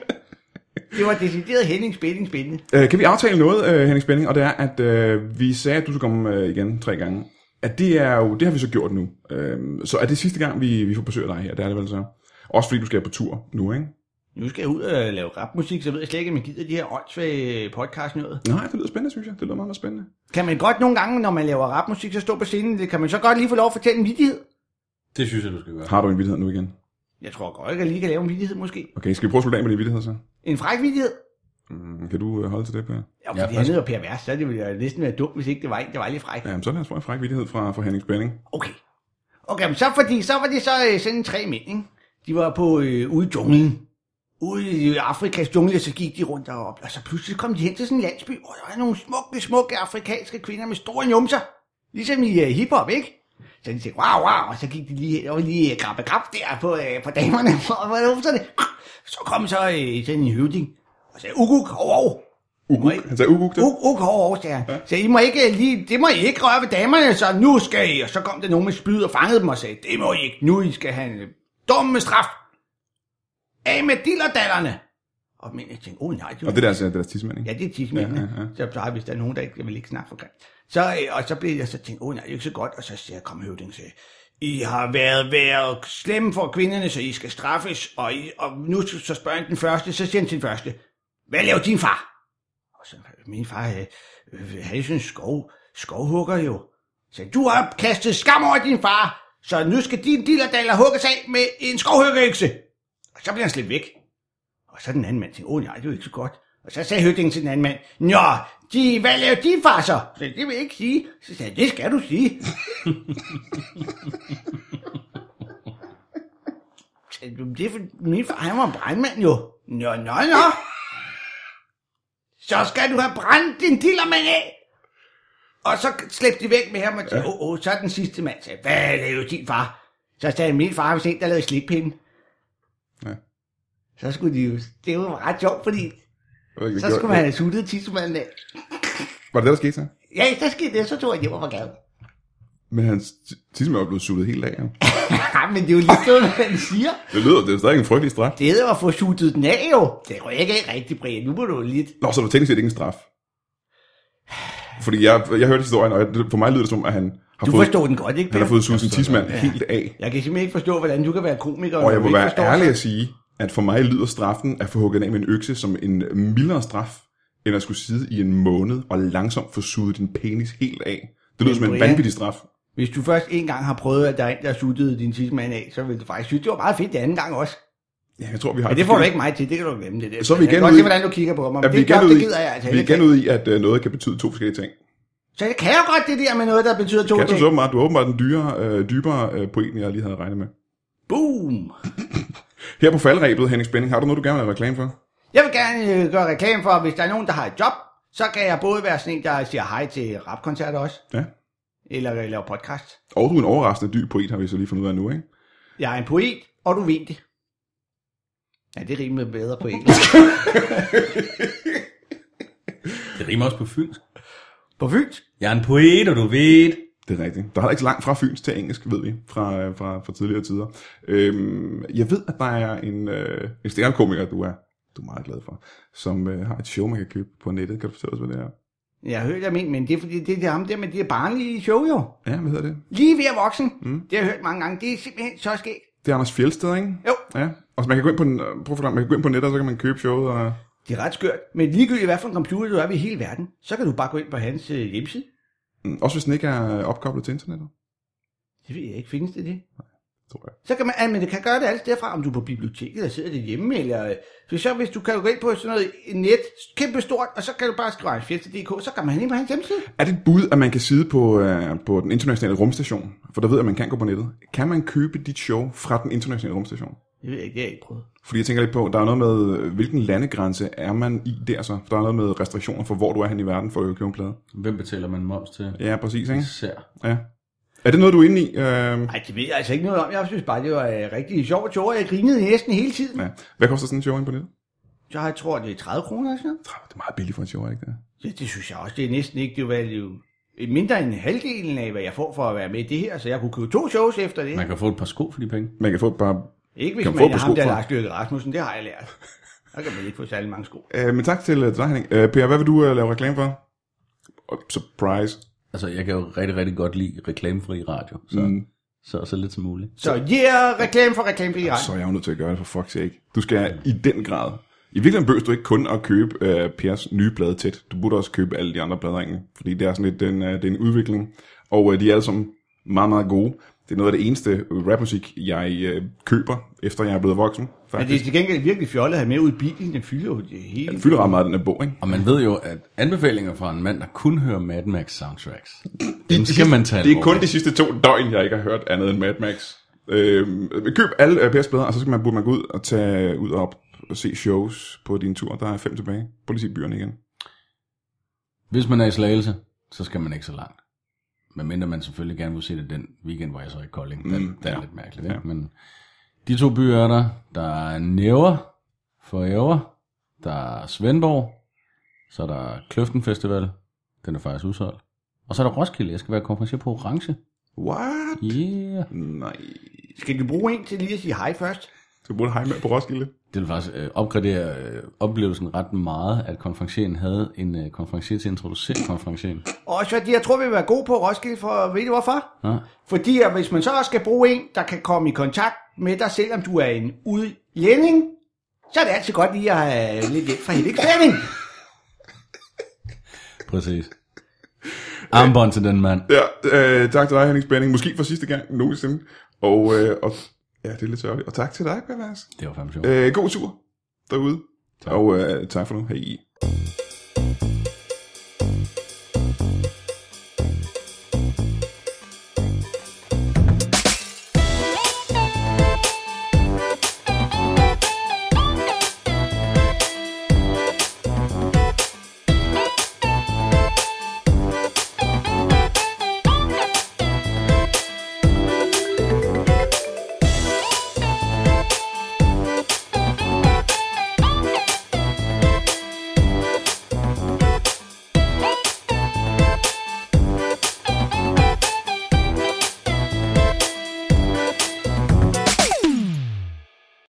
Det var decideret Henning spænding spændende.
Øh, kan vi aftale noget, øh, Henning Spænding? Og det er, at øh, vi sagde, at du skulle komme øh, igen tre gange. At det er jo, det har vi så gjort nu. Øh, så er det sidste gang, vi, vi får besøg af dig her, det er det vel så. Også fordi du skal på tur nu, ikke?
Nu skal jeg ud og lave rapmusik, så ved jeg slet ikke, om jeg gider de her åndssvage øh, podcast noget.
Nej, det lyder spændende, synes jeg. Det lyder meget, meget spændende.
Kan man godt nogle gange, når man laver rapmusik, så stå på scenen, det kan man så godt lige få lov at fortælle en vidighed.
(laughs) Det synes jeg, du skal gøre.
Har du en vidighed nu igen?
Jeg tror godt, jeg lige kan lave en vidighed måske.
Okay, skal vi prøve at slutte af med din vidighed så?
En fræk vidighed.
Mm, Kan du øh, holde til det, Per?
Ja, fordi
Ja,
han
først-
hedder Per Vers, så ville jeg øh, næsten være dum, hvis ikke det var en, der var lidt fræk.
Jamen, så lad os få en fræk vidighed fra, fra Henning Spænding.
Okay. Okay, men så, fordi, så var det så øh, sådan tre mænd, ikke? De var på øh, ude i junglen. Ude i Afrikas jungle, så gik de rundt derop. Og så pludselig kom de hen til sådan en landsby, hvor der var nogle smukke, smukke afrikanske kvinder med store numser. Ligesom i øh, hiphop, ikke? Så de tænkte, wow, wow, og så gik de lige, og lige øh, grabbe grab der på, øh, på damerne, (laughs) og hvor numserne. Så kom så øh, sådan en høvding, og sagde, uguk, hov, hov.
Uguk. Han sagde Uguk, det.
Uk, uk, hov, hov, sagde han. Så I må ikke lige, det må I ikke røre ved damerne, så nu skal I. Og så kom der nogen med spyd og fangede dem og sagde, det må I ikke, nu I skal have en øh, dom med straf. Af med dillerdallerne. Og men jeg tænkte, åh nej, det,
Og
var,
det er deres, øh, det er deres tidsmand, ikke?
ja, det er tidsmændene. Ja, ja, ja. Så plejer hvis der er nogen, der ikke, jeg vil ikke snakke for grimt. Så, øh, og så blev jeg så tænkt, åh nej, det er ikke så godt. Og så siger jeg, kom høvding, og sagde, I har været, været slemme for kvinderne, så I skal straffes. Og, I, og nu så så spørger han den første, så siger han til den første, hvad laver din far? Og så, min far, øh, øh, han er sådan en skov, skovhugger jo. Så du har kastet skam over din far, så nu skal din dillerdaller hugges af med en skovhuggerøkse. Og så bliver han slet væk. Og så den anden mand tænkte, åh nej, det er jo ikke så godt. Og så sagde høvdingen til den anden mand, Nå, de, hvad laver de far så? Så det vil jeg ikke sige. Så sagde jeg, det skal du sige. (laughs) Så, "Jamen, det er for, min far, han var en brandmand jo. Nå, nå, nå. Så skal du have brændt din dillermand af. Og så slæb de væk med ham og sagde, åh, åh, så den sidste mand sagde, hvad laver din far? Så sagde han, min far har set, der lavede slikpinde.
Ja.
Så skulle de jo, det var ret sjovt, fordi
Jeg ved ikke,
så
det
skulle
gjorde-
man have suttet tissemanden af.
Var det det, der skete så?
Ja, så skete det, så tog jeg hjem og var glad. (laughs)
Men hans ti- tidsmand var blevet suttet helt af. Ja.
Ja, men det er jo lige sådan, hvad han siger.
Det lyder, det er stadig en frygtelig straf.
Det hedder at få suttet den af jo. Det rører ikke af rigtigt, Brian. Nu må du jo lidt.
Nå, så er det teknisk set ikke en straf. Fordi jeg, jeg hørte historien, og jeg, for mig lyder det som, at han har
Du
fået,
forstår den godt, ikke?
han har
Per?
fået suget sin tidsmand helt af.
Jeg kan simpelthen ikke forstå, hvordan du kan være komiker.
Og
når
jeg
du
må
ikke
være
forstår
ærlig
sådan-
at sige, at for mig lyder straffen at få hugget den af med en økse som en mildere straf, end at skulle sidde i en måned og langsomt få suget din penis helt af. Det lyder
Men
som en
Brian-
vanvittig straf.
Hvis du først en gang har prøvet, at der er en, der suttede din tidsmand af, så vil du faktisk synes, det var meget fedt det anden gang også.
Ja, jeg tror, vi har...
Men det får du ikke mig til, det kan du glemme det der.
Så er vi
Jeg kan
igen
godt
ude
se,
i-
hvordan du kigger på mig.
Ja,
men
vi er
det,
igen
gør,
ude
det
i,
gider jeg altså
vi er
heller
igen ude
ikke.
i, at øh, noget kan betyde to forskellige ting.
Så det kan jeg godt, det der med noget, der betyder to
Kan du
ting.
så åbenbart, du er åbenbart den dyre, øh, dybere øh, poen, jeg lige havde regnet med.
Boom!
Her på faldrebet, Henning Spænding, har du noget, du gerne vil have reklame for?
Jeg vil gerne øh, gøre reklame for, at hvis der er nogen, der har et job, så kan jeg både være sådan en, der siger hej til rapkoncerter også,
Ja.
eller øh, laver podcast.
Og du er en overraskende dyb poet, har vi så lige fundet ud af nu, ikke?
Jeg er en poet, og du ved det. Ja, det rimer bedre på engelsk.
Det rimer også på fynsk.
på fynsk?
Jeg er en poet, og du ved.
Det er rigtigt. Der er heller ikke så langt fra Fyns til engelsk, ved vi, fra, fra, fra tidligere tider. Øhm, jeg ved, at der er en, øh, en stjernekomiker, du er, du er meget glad for, som øh, har et show, man kan købe på nettet. Kan du fortælle os, hvad det er?
Jeg har hørt, jeg men, men det er fordi, det er ham der med de her barnlige show jo.
Ja, hvad hedder det?
Lige ved at voksen. Mm. Det har jeg hørt mange gange. Det er simpelthen så skægt.
Det er Anders Fjeldsted, ikke?
Jo.
Ja, og så man kan gå ind på, den, øh, prøv at forklare, man kan gå ind på nettet, og så kan man købe showet. Og...
Det er ret skørt. Men ligegyldigt hvad for en computer du er ved i hele verden, så kan du bare gå ind på hans øh, hjemmeside.
Mm, Også hvis den ikke er opkoblet til internettet,
Det ved jeg ikke. Findes det det?
tror jeg.
Så kan man, ah, men det kan gøre det alle steder fra, om du er på biblioteket og sidder det hjemme, eller øh, for så hvis du kan gå ind på sådan noget net, kæmpe stort, og så kan du bare skrive fjeste.dk, så kan man ind på hans hjemmeside.
Er det et bud, at man kan sidde på, øh, på den internationale rumstation? For der ved, jeg, at man kan gå på nettet. Kan man købe dit show fra den internationale rumstation?
Det ved jeg ikke, det har jeg ikke prøvet.
Fordi jeg tænker lidt på, der er noget med, øh, hvilken landegrænse er man i der så? Der er noget med restriktioner for, hvor du er hen i verden for at købe en plade.
Hvem betaler man moms til?
Ja, præcis, ikke?
Især.
Ja. Er det noget, du er inde i? Øh,
Nej, det ved jeg altså ikke noget om. Jeg synes bare, det var øh, rigtig sjovt sjovt. Jeg grinede næsten hele tiden.
ja. Hvad koster sådan en show ind på nettet?
jeg tror, det er 30 kroner eller sådan noget.
Det er meget billigt for en show, ikke det?
Ja, det synes jeg også. Det er næsten ikke, det var jo mindre end halvdelen af, hvad jeg får for at være med i det her, så jeg kunne købe to shows efter det.
Man kan få et par sko for de penge.
Man kan få et par...
Ikke hvis
Kan
man,
man få
man er
på
ham, der
sko for?
Lars Løkke Rasmussen, det har jeg lært. Der kan man ikke få særlig mange sko.
Øh, men tak til øh, til dig, Henning. Øh, per, hvad vil du øh, lave reklame for? Oh, Surprise.
Altså, jeg kan jo rigtig, rigtig godt lide reklamefri radio, så, mm.
Mm.
så, så lidt som muligt.
Så yeah, reklame for reklame for Iran.
Så er jeg jo nødt til at gøre det for fuck's sake. Du skal i den grad. I virkeligheden behøver du ikke kun at købe øh, Pers nye plade tæt. Du burde også købe alle de andre pladeringer, fordi det er sådan lidt den, øh, det er en udvikling. Og øh, de er alle sammen meget, meget gode. Det er noget af det eneste rapmusik, jeg øh, køber, efter jeg er blevet voksen.
Men det er
Faktisk.
til gengæld virkelig fjollet at have med ud i bilen. Den fylder jo det hele.
Den fylder ret meget, den her bog, ikke?
Og man ved jo, at anbefalinger fra en mand, der kun hører Mad Max soundtracks, dem
Det-
skal man tage
Det er kun de
alvorligt.
sidste to døgn, jeg ikke har hørt andet end Mad Max. Øhm, køb alle øh, PS plader, og så skal man, burde man gå ud og tage ud og op og se shows på din tur. Der er fem tilbage. Prøv lige at se byerne igen.
Hvis man er i Slagelse, så skal man ikke så langt. Men mindre man selvfølgelig gerne vil se det den weekend, hvor jeg så er i Kolding. Mm, det, det er ja. lidt mærkeligt, ikke? Ja. Men de to byer er der. Der er Næver for Ever. Der er Svendborg. Så er der Kløften Festival. Den er faktisk udsolgt. Og så er der Roskilde. Jeg skal være konferencier på Orange.
What?
Yeah.
Nej.
Skal du bruge en til lige at sige hej først?
Du burde hej med på Roskilde.
Det vil faktisk øh, opgradere øh, oplevelsen ret meget, at konferencieren havde en øh, konferencier til at introducere konferencieren.
Og så de, jeg tror, vi vil være gode på Roskilde, for ved du hvorfor?
Ja.
Fordi at hvis man så også skal bruge en, der kan komme i kontakt med dig, selvom du er en udlænding, så er det altid godt lige at have lidt hjælp fra Henrik Flemming.
Præcis. Armbånd til den mand.
Ja, øh, tak til dig, Henning Spænding. Måske for sidste gang nogensinde. Og, øh, og ja, det er lidt sørgeligt. Og tak til dig, Per Lars.
Det var fandme sjovt.
Øh, god tur derude. Tak. Og øh, tak for nu. Hej.